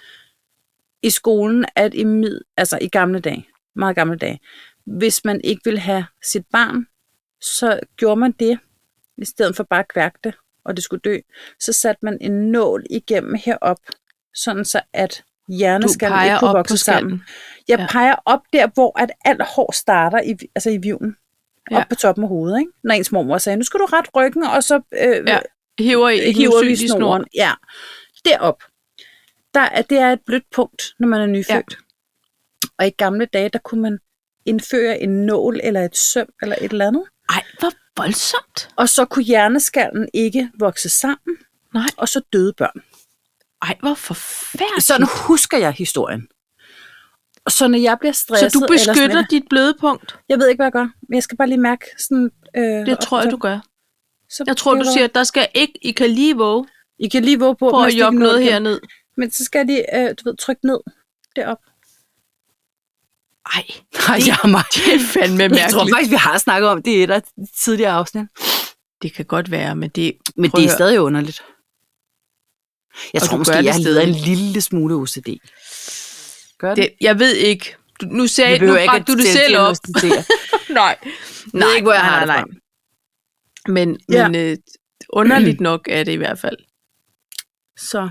[SPEAKER 2] i skolen, at i, mid, altså i gamle dage, meget gamle dage, hvis man ikke ville have sit barn, så gjorde man det, i stedet for bare at kværke det, og det skulle dø, så satte man en nål igennem herop, sådan så at hjerneskallen ikke kunne vokse sammen. Jeg
[SPEAKER 1] Ja.
[SPEAKER 2] ja. peger op der, hvor at alt hår starter i, altså i viven.
[SPEAKER 1] Ja.
[SPEAKER 2] Ja. Op på toppen af hovedet, ikke? Når ens mormor sagde, nu skal du ret ryggen, og så øh,
[SPEAKER 1] Ja.
[SPEAKER 2] ja.
[SPEAKER 1] Hiver i den
[SPEAKER 2] hiver vi
[SPEAKER 1] usynlige snor.
[SPEAKER 2] snoren. Ja. Derop. Der er, det er et blødt punkt, når man er nyfødt. Ja. Og i gamle dage, der kunne man indføre en nål eller et søm eller et eller andet.
[SPEAKER 1] Ej, hvor voldsomt.
[SPEAKER 2] Og så kunne hjerneskallen ikke vokse sammen,
[SPEAKER 1] Nej.
[SPEAKER 2] og så døde børn.
[SPEAKER 1] Ej, hvor forfærdeligt.
[SPEAKER 2] Sådan husker jeg historien. Og Så når jeg bliver
[SPEAKER 1] Så
[SPEAKER 2] stresset...
[SPEAKER 1] du
[SPEAKER 2] eller sådan et eller
[SPEAKER 1] beskytter dit bløde punkt?
[SPEAKER 2] Jeg ved ikke, hvad jeg gør, men jeg skal bare lige mærke sådan... Øh,
[SPEAKER 1] Det tror jeg, du gør.
[SPEAKER 2] Så
[SPEAKER 1] Jeg tror, du siger, at der skal ikke... I kan lige våge
[SPEAKER 2] I kan lige våge på,
[SPEAKER 1] på
[SPEAKER 2] med
[SPEAKER 1] at
[SPEAKER 2] stikke
[SPEAKER 1] jokke noget
[SPEAKER 2] nålen.
[SPEAKER 1] herned.
[SPEAKER 2] Men så skal de, øh, du ved, trykke ned derop.
[SPEAKER 1] Ej,
[SPEAKER 2] Nej, jeg er meget...
[SPEAKER 1] det er fandme mærkeligt.
[SPEAKER 2] faktisk, vi har snakket om det i et af de tidligere afsnit.
[SPEAKER 1] Det kan godt være, men det...
[SPEAKER 2] Men
[SPEAKER 1] Prøv
[SPEAKER 2] det er
[SPEAKER 1] at høre.
[SPEAKER 2] stadig underligt. Jeg
[SPEAKER 1] Og
[SPEAKER 2] tror
[SPEAKER 1] du
[SPEAKER 2] måske,
[SPEAKER 1] gør det
[SPEAKER 2] jeg lider
[SPEAKER 1] stadig.
[SPEAKER 2] en lille smule OCD. Gør
[SPEAKER 1] Det, jeg ved ikke. Du, nu
[SPEAKER 2] Vi
[SPEAKER 1] sagde nu
[SPEAKER 2] behøver ikke
[SPEAKER 1] bragte du
[SPEAKER 2] at
[SPEAKER 1] det selv op.
[SPEAKER 2] diagnosticere.
[SPEAKER 1] nej.
[SPEAKER 2] Jeg ved ikke, hvor jeg har det fra.
[SPEAKER 1] Men,
[SPEAKER 2] Ja.
[SPEAKER 1] men øh, underligt nok er det i hvert fald.
[SPEAKER 2] Så.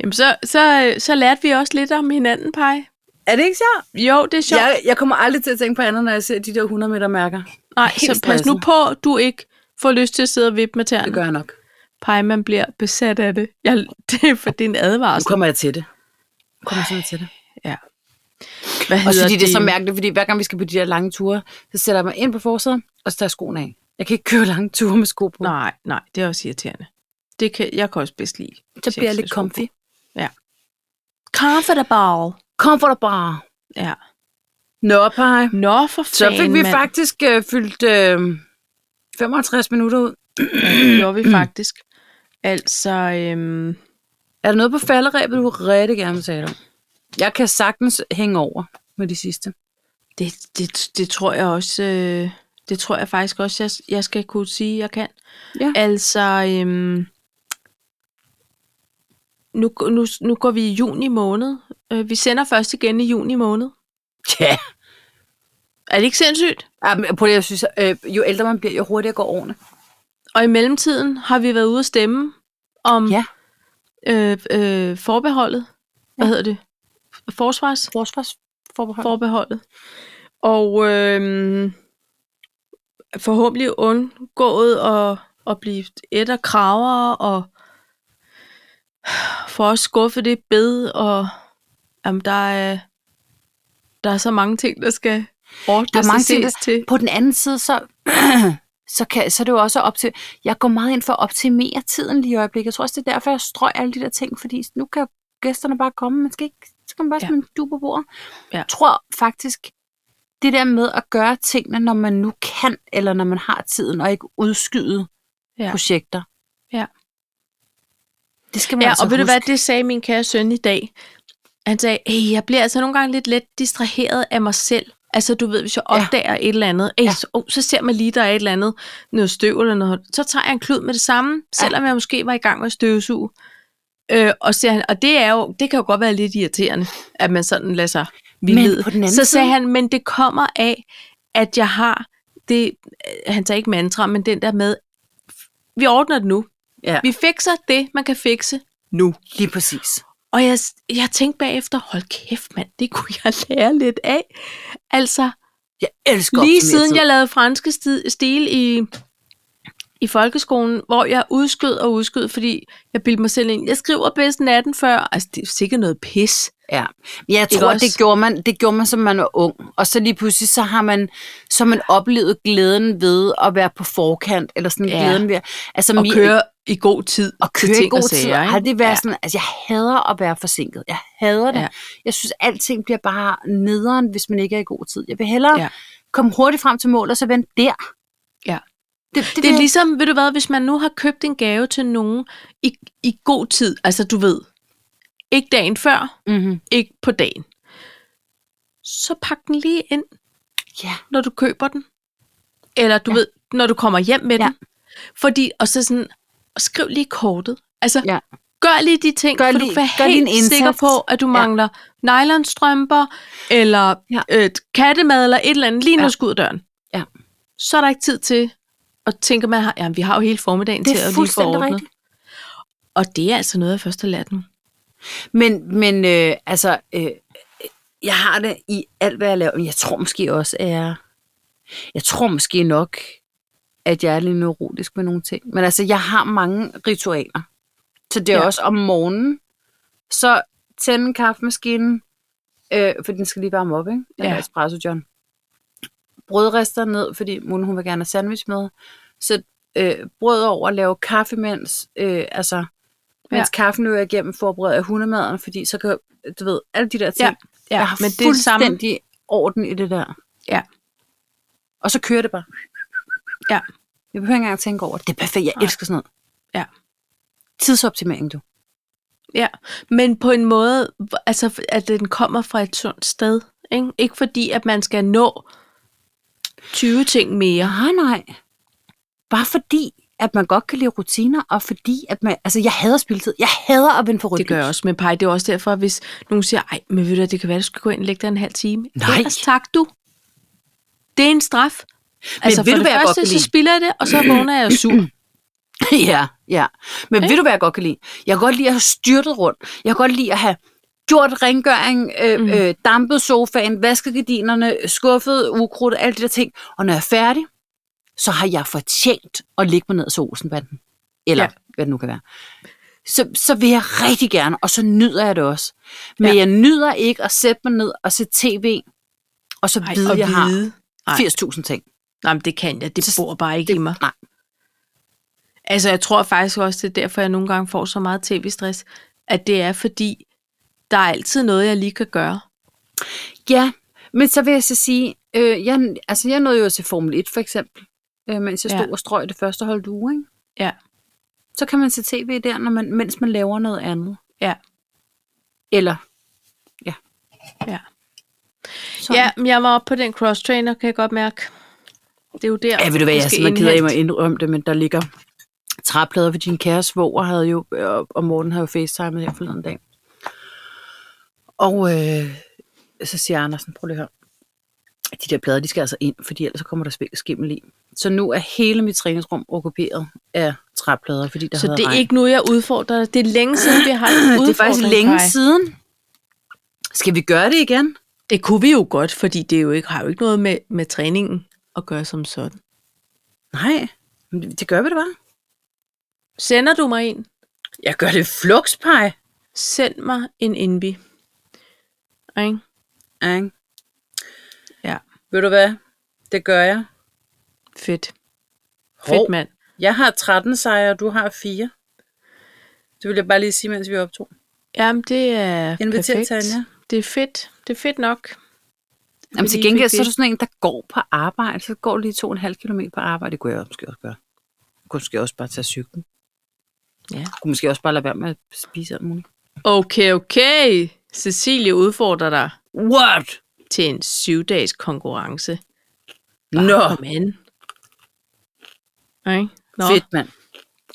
[SPEAKER 1] Jamen, så, så, øh, så lærte vi også lidt om hinanden, Paj.
[SPEAKER 2] Er det ikke sjovt?
[SPEAKER 1] Jo, det er sjovt.
[SPEAKER 2] Jeg, jeg kommer aldrig til at tænke på andet, når jeg ser de der 100 meter mærker.
[SPEAKER 1] Nej,
[SPEAKER 2] helt
[SPEAKER 1] så pas
[SPEAKER 2] stresset.
[SPEAKER 1] nu på, du ikke får lyst til at sidde og vippe med
[SPEAKER 2] Det
[SPEAKER 1] tæerne.
[SPEAKER 2] gør jeg nok.
[SPEAKER 1] Pej, man bliver besat af det. Jeg, det er for din
[SPEAKER 2] Nu
[SPEAKER 1] advarsel.
[SPEAKER 2] kommer jeg til det. Nu kommer jeg simpelthen til det.
[SPEAKER 1] Hvad
[SPEAKER 2] Og så
[SPEAKER 1] hedder
[SPEAKER 2] fordi det er så mærkeligt, fordi hver gang vi skal på de der lange ture, så sætter jeg mig ind på forsædet, og så tager jeg skoene af. Jeg kan ikke køre lange ture med sko på.
[SPEAKER 1] Nej, nej, det er også irriterende. Det kan, jeg kan også bedst lide.
[SPEAKER 2] så bliver jeg lidt
[SPEAKER 1] Sexet sko
[SPEAKER 2] comfy.
[SPEAKER 1] Comfortable.
[SPEAKER 2] Comfortable.
[SPEAKER 1] Ja.
[SPEAKER 2] Nå, pej.
[SPEAKER 1] Nå, for
[SPEAKER 2] Så
[SPEAKER 1] fanden,
[SPEAKER 2] fik vi
[SPEAKER 1] mand.
[SPEAKER 2] faktisk øh, fyldt øh, 55 minutter ud.
[SPEAKER 1] Det gjorde vi faktisk. Altså, øhm,
[SPEAKER 2] Er der noget på falderæbet, du rigtig gerne vil tale om? Jeg kan sagtens hænge over med de sidste.
[SPEAKER 1] det, det, det tror jeg også, øh, det tror jeg faktisk også, jeg, jeg skal kunne sige, jeg kan.
[SPEAKER 2] Ja.
[SPEAKER 1] Altså, øhm, nu, nu, nu går vi i juni måned. Øh, vi sender først igen i juni måned.
[SPEAKER 2] Ja.
[SPEAKER 1] Er det ikke sindssygt?
[SPEAKER 2] Ja, men prøv lige, jeg synes, øh, jo ældre man bliver, jo hurtigere går årene.
[SPEAKER 1] Og i mellemtiden har vi været ude at stemme om
[SPEAKER 2] Ja.
[SPEAKER 1] øh, øh, forbeholdet. Hvad hedder det? Forsvars?
[SPEAKER 2] Forsvarsforbehold. For...
[SPEAKER 1] forbeholdet. Og øh, forhåbentlig undgået at, at blive et af kraver og for at skuffe det bed, og jamen, der, er, der er så mange ting, der skal ordnes og ses til.
[SPEAKER 2] På den anden side, så, så, kan, så er det jo også op til... Jeg går meget ind for at optimere tiden lige i øjeblikket. Jeg tror også, det er derfor, jeg strøg alle de der ting, fordi nu kan gæsterne bare komme. Man skal ikke... Så kan man bare
[SPEAKER 1] Ja.
[SPEAKER 2] ja. smide en du på bordet.
[SPEAKER 1] Ja.
[SPEAKER 2] Jeg tror faktisk, det der med at gøre tingene, når man nu kan, eller når man har tiden, og ikke udskyde
[SPEAKER 1] Ja.
[SPEAKER 2] ja. projekter.
[SPEAKER 1] Ja.
[SPEAKER 2] Det skal man
[SPEAKER 1] Ja,
[SPEAKER 2] altså
[SPEAKER 1] og ved du
[SPEAKER 2] huske.
[SPEAKER 1] hvad, det sagde min kære søn i dag. Han sagde, hey, jeg bliver altså nogle gange lidt let distraheret af mig selv. Altså, du ved, hvis jeg
[SPEAKER 2] Ja.
[SPEAKER 1] opdager ja. et eller andet, ja.
[SPEAKER 2] Ja.
[SPEAKER 1] så, oh, så ser man lige, der er et eller andet, noget støv eller noget, så tager jeg en klud med det samme, selvom jeg måske var i gang med at støvsuge. Øh, og, ser han, og det, er jo, det kan jo godt være lidt irriterende, at man sådan lader sig vildlede.
[SPEAKER 2] på den anden
[SPEAKER 1] så sagde
[SPEAKER 2] side-
[SPEAKER 1] han, men det kommer af, at jeg har det, øh, han sagde ikke mantra, men den der med, vi ordner det nu.
[SPEAKER 2] Ja.
[SPEAKER 1] Vi fikser det, man kan fikse nu.
[SPEAKER 2] Lige præcis.
[SPEAKER 1] Og jeg, jeg tænkte bagefter, hold kæft mand, det kunne jeg lære lidt af. Altså,
[SPEAKER 2] Jeg elsker
[SPEAKER 1] Lige
[SPEAKER 2] optimeret
[SPEAKER 1] siden
[SPEAKER 2] tid.
[SPEAKER 1] jeg lavede franske sti- stil i, i folkeskolen, hvor jeg udskød og udskød, fordi jeg bildte mig selv ind, jeg skriver bedst natten før. Altså, det er sikkert noget pis.
[SPEAKER 2] Ja, men jeg
[SPEAKER 1] Ikke
[SPEAKER 2] tror,
[SPEAKER 1] også?
[SPEAKER 2] det gjorde, man, det gjorde man, som man var ung. Og så lige pludselig, så har man, så har man oplevet glæden ved at være på forkant, eller sådan
[SPEAKER 1] Ja.
[SPEAKER 2] ja. glæden ved, altså
[SPEAKER 1] Og
[SPEAKER 2] mi-
[SPEAKER 1] køre i god tid
[SPEAKER 2] og
[SPEAKER 1] til
[SPEAKER 2] køre i
[SPEAKER 1] ting
[SPEAKER 2] god
[SPEAKER 1] og
[SPEAKER 2] tid.
[SPEAKER 1] sager.
[SPEAKER 2] Har
[SPEAKER 1] ikke?
[SPEAKER 2] det været ja. sådan, altså jeg hader at være forsinket. Jeg hader det.
[SPEAKER 1] Ja.
[SPEAKER 2] Ja. Jeg synes, alting bliver bare nederen, hvis man ikke er i god tid. Jeg vil hellere
[SPEAKER 1] Ja.
[SPEAKER 2] ja. komme hurtigt frem til mål, og så vente der.
[SPEAKER 1] Ja.
[SPEAKER 2] Det, det,
[SPEAKER 1] Det er ligesom, ved du hvad, hvis man nu har købt en gave til nogen i, i god tid, altså du ved, ikke dagen før,
[SPEAKER 2] Mm-hmm.
[SPEAKER 1] ikke på dagen, så pak den lige ind.
[SPEAKER 2] Ja.
[SPEAKER 1] når du køber den. Eller du ja. ved, når du kommer hjem med ja.
[SPEAKER 2] Ja.
[SPEAKER 1] den. Fordi, og så sådan, skriv lige kortet. Altså, ja.
[SPEAKER 2] Ja.
[SPEAKER 1] gør lige de ting,
[SPEAKER 2] Gør
[SPEAKER 1] for du
[SPEAKER 2] lige-
[SPEAKER 1] kan
[SPEAKER 2] gør lige en
[SPEAKER 1] helt sikker
[SPEAKER 2] indsats.
[SPEAKER 1] på, at du mangler ja. nylonstrømper, eller ja.
[SPEAKER 2] Ja.
[SPEAKER 1] et kattemad, eller et eller andet, lige når
[SPEAKER 2] Ja.
[SPEAKER 1] du skal ud af døren.
[SPEAKER 2] Ja.
[SPEAKER 1] Så er der ikke tid til at tænke, man har, jamen, vi har jo hele formiddagen
[SPEAKER 2] Det
[SPEAKER 1] til
[SPEAKER 2] er
[SPEAKER 1] at lige få
[SPEAKER 2] fuldstændig
[SPEAKER 1] ordnet.
[SPEAKER 2] rigtigt.
[SPEAKER 1] Og det er altså noget, jeg først har lært nu.
[SPEAKER 2] Men, men øh, altså, øh, jeg har det i alt, hvad jeg laver. Men jeg tror måske også, at jeg... Jeg tror måske nok, at jeg er lidt neurotisk med nogle ting. Men altså, jeg har mange ritualer. Så det er
[SPEAKER 1] Ja.
[SPEAKER 2] ja. også om morgenen. Så tænde kaffemaskinen, øh, for den skal lige varme op, ikke? Den
[SPEAKER 1] Ja.
[SPEAKER 2] ja. espresso, John. Brødrester ned, fordi Mune, hun vil gerne have sandwich med. Så øh, brød over, lave kaffe, mens, øh, altså, mens kaffen løber igennem, forbereder hundemaden, fordi så kan, du ved, alle de der ting.
[SPEAKER 1] Ja, ja,
[SPEAKER 2] jeg har
[SPEAKER 1] men det er det samme.
[SPEAKER 2] fuldstændig det orden i det der.
[SPEAKER 1] Ja.
[SPEAKER 2] Og så kører det bare.
[SPEAKER 1] Ja.
[SPEAKER 2] Jeg behøver ikke engang at tænke over, det Det er perfekt, jeg
[SPEAKER 1] Nej.
[SPEAKER 2] elsker sådan noget.
[SPEAKER 1] Ja.
[SPEAKER 2] Tidsoptimering, du.
[SPEAKER 1] Ja, men på en måde, hvor- altså, at den kommer fra et sundt sted. Ikke, ikke fordi, at man skal nå 20 ting mere.
[SPEAKER 2] Nej, nej. Bare fordi, at man godt kan lide rutiner, og fordi, at man... Altså, jeg hader spildtid. Jeg hader at vende for rødt
[SPEAKER 1] Det gør jeg
[SPEAKER 2] lys.
[SPEAKER 1] også med pej. Det er også derfor, hvis nogen siger, ej, men ved du, hvad, det kan være, du skal gå ind og lægge dig en halv time.
[SPEAKER 2] Nej.
[SPEAKER 1] Ellers tak du. Det er en straf. Altså,
[SPEAKER 2] ved
[SPEAKER 1] for
[SPEAKER 2] du,
[SPEAKER 1] det
[SPEAKER 2] hvad jeg godt
[SPEAKER 1] første,
[SPEAKER 2] kan
[SPEAKER 1] så
[SPEAKER 2] lide?
[SPEAKER 1] spiller jeg det, og så vågner jeg sur.
[SPEAKER 2] ja, ja. Men
[SPEAKER 1] Ikke?
[SPEAKER 2] ved du, hvad jeg godt kan lide? Jeg kan godt lide at have styrtet rundt. Jeg kan godt lide at have gjort rengøring, øh,
[SPEAKER 1] Mm.
[SPEAKER 2] mm. øh, dampet sofaen, vasket gardinerne, skuffet ukrudt, alle de der ting. Og når jeg er færdig, så har jeg fortjent at ligge mig ned i solsenbanden. Eller
[SPEAKER 1] Ja.
[SPEAKER 2] ja. hvad det nu kan være. Så, så vil jeg rigtig gerne, og så nyder jeg det også. Men
[SPEAKER 1] Ja.
[SPEAKER 2] ja. jeg nyder ikke at sætte mig ned og se tv, og så
[SPEAKER 1] Ej,
[SPEAKER 2] vide,
[SPEAKER 1] og
[SPEAKER 2] jeg har
[SPEAKER 1] vide. Ej.
[SPEAKER 2] 80.000 ting.
[SPEAKER 1] Nej, men det kan jeg. Det
[SPEAKER 2] Så-
[SPEAKER 1] bor bare ikke i
[SPEAKER 2] Det,
[SPEAKER 1] mig.
[SPEAKER 2] nej,
[SPEAKER 1] Altså, jeg tror faktisk også, det er derfor, jeg nogle gange får så meget tv-stress, at det er fordi, der er altid noget, jeg lige kan gøre.
[SPEAKER 2] Ja, men så vil jeg så sige, øh, jeg, altså jeg nåede jo til Formel 1 for eksempel, øh, mens jeg stod
[SPEAKER 1] Ja.
[SPEAKER 2] ja. og strøg det første hold uge, ikke?
[SPEAKER 1] Ja.
[SPEAKER 2] Så kan man se tv der, når man, mens man laver noget andet.
[SPEAKER 1] Ja.
[SPEAKER 2] Eller,
[SPEAKER 1] Ja.
[SPEAKER 2] Sådan.
[SPEAKER 1] Ja, men jeg var oppe på den cross-trainer, kan jeg godt mærke. Det er jo der.
[SPEAKER 2] ja, ved du hvad, jeg er
[SPEAKER 1] skal
[SPEAKER 2] simpelthen ked af mig
[SPEAKER 1] indhente-
[SPEAKER 2] at indrømme det, men der ligger træplader, for din kære svoger havde jo, øh, og Morten havde jo facetimet her forleden dag. Og øh, så siger Andersen, prøv lige at høre. De der plader, de skal altså ind, fordi ellers så kommer der spil- skimmel i. Så nu er hele mit træningsrum okkuperet af træplader, fordi der
[SPEAKER 1] Så
[SPEAKER 2] havde
[SPEAKER 1] det er
[SPEAKER 2] regn.
[SPEAKER 1] ikke nu, jeg udfordrer dig. Det er længe siden, vi har en
[SPEAKER 2] det
[SPEAKER 1] udfordring,
[SPEAKER 2] er faktisk længe
[SPEAKER 1] Kai.
[SPEAKER 2] siden. Skal vi gøre det igen?
[SPEAKER 1] Det kunne vi jo godt, fordi det er jo ikke, har jo ikke noget med, med træningen at gøre som sådan.
[SPEAKER 2] Nej, men det- det gør vi det bare.
[SPEAKER 1] Sender du mig en?
[SPEAKER 2] Jeg gør det flugtspej.
[SPEAKER 1] Send mig en envy. Ikke? Ja,
[SPEAKER 2] Ved du hvad? Det gør jeg.
[SPEAKER 1] fedt.
[SPEAKER 2] Hov.
[SPEAKER 1] Fedt mand.
[SPEAKER 2] Jeg har 13 sejre, og du har 4. Det vil jeg bare lige sige, mens vi optog.
[SPEAKER 1] Jamen, det er
[SPEAKER 2] Inviter
[SPEAKER 1] perfekt.
[SPEAKER 2] Tanja.
[SPEAKER 1] Det er fedt. Det er fedt nok.
[SPEAKER 2] Jamen til
[SPEAKER 1] Lige
[SPEAKER 2] gengæld,
[SPEAKER 1] fik
[SPEAKER 2] så er
[SPEAKER 1] det.
[SPEAKER 2] du sådan en, der går på arbejde. Så går du lige to og en halv kilometer på arbejde. Det kunne jeg måske også gøre. Jeg kunne måske også bare tage cyklen.
[SPEAKER 1] Ja.
[SPEAKER 2] Jeg kunne måske også bare lade være med at spise alt muligt.
[SPEAKER 1] Okay, okay. Cecilie udfordrer dig.
[SPEAKER 2] What?
[SPEAKER 1] til en syvdages konkurrence.
[SPEAKER 2] Nå,
[SPEAKER 1] Ah, Men. Okay. Nå.
[SPEAKER 2] fedt mand.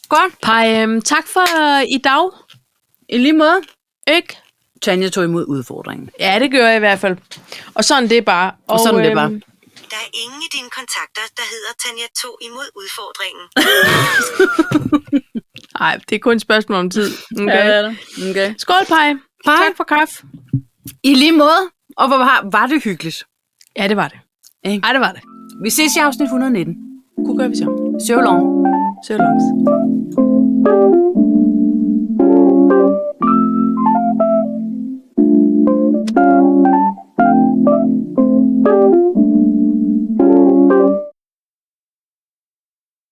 [SPEAKER 2] Godt.
[SPEAKER 1] Pej, øhm, tak for øh, i dag.
[SPEAKER 2] I lige måde.
[SPEAKER 1] Ikke?
[SPEAKER 2] Tanja tog imod udfordringen.
[SPEAKER 1] Ja, det gør jeg i hvert fald. Og øhm, sådan det er bare.
[SPEAKER 2] Og sådan det er bare.
[SPEAKER 3] Der er ingen i dine kontakter, der hedder Tanja 2 imod udfordringen.
[SPEAKER 1] Nej, det er kun et spørgsmål om tid.
[SPEAKER 2] Ja, det
[SPEAKER 1] Okay.
[SPEAKER 2] er det. Okay.
[SPEAKER 1] Skål, Pej.
[SPEAKER 2] Pej.
[SPEAKER 1] Tak for kaffe.
[SPEAKER 2] I lige måde. Og hvor var, var det hyggeligt.
[SPEAKER 1] Ja, det var det.
[SPEAKER 2] Ikke?
[SPEAKER 1] Ej, det var det.
[SPEAKER 2] Vi ses i afsnit 119.
[SPEAKER 1] Kunne gøre vi så.
[SPEAKER 2] Søvlov.
[SPEAKER 1] Så langt.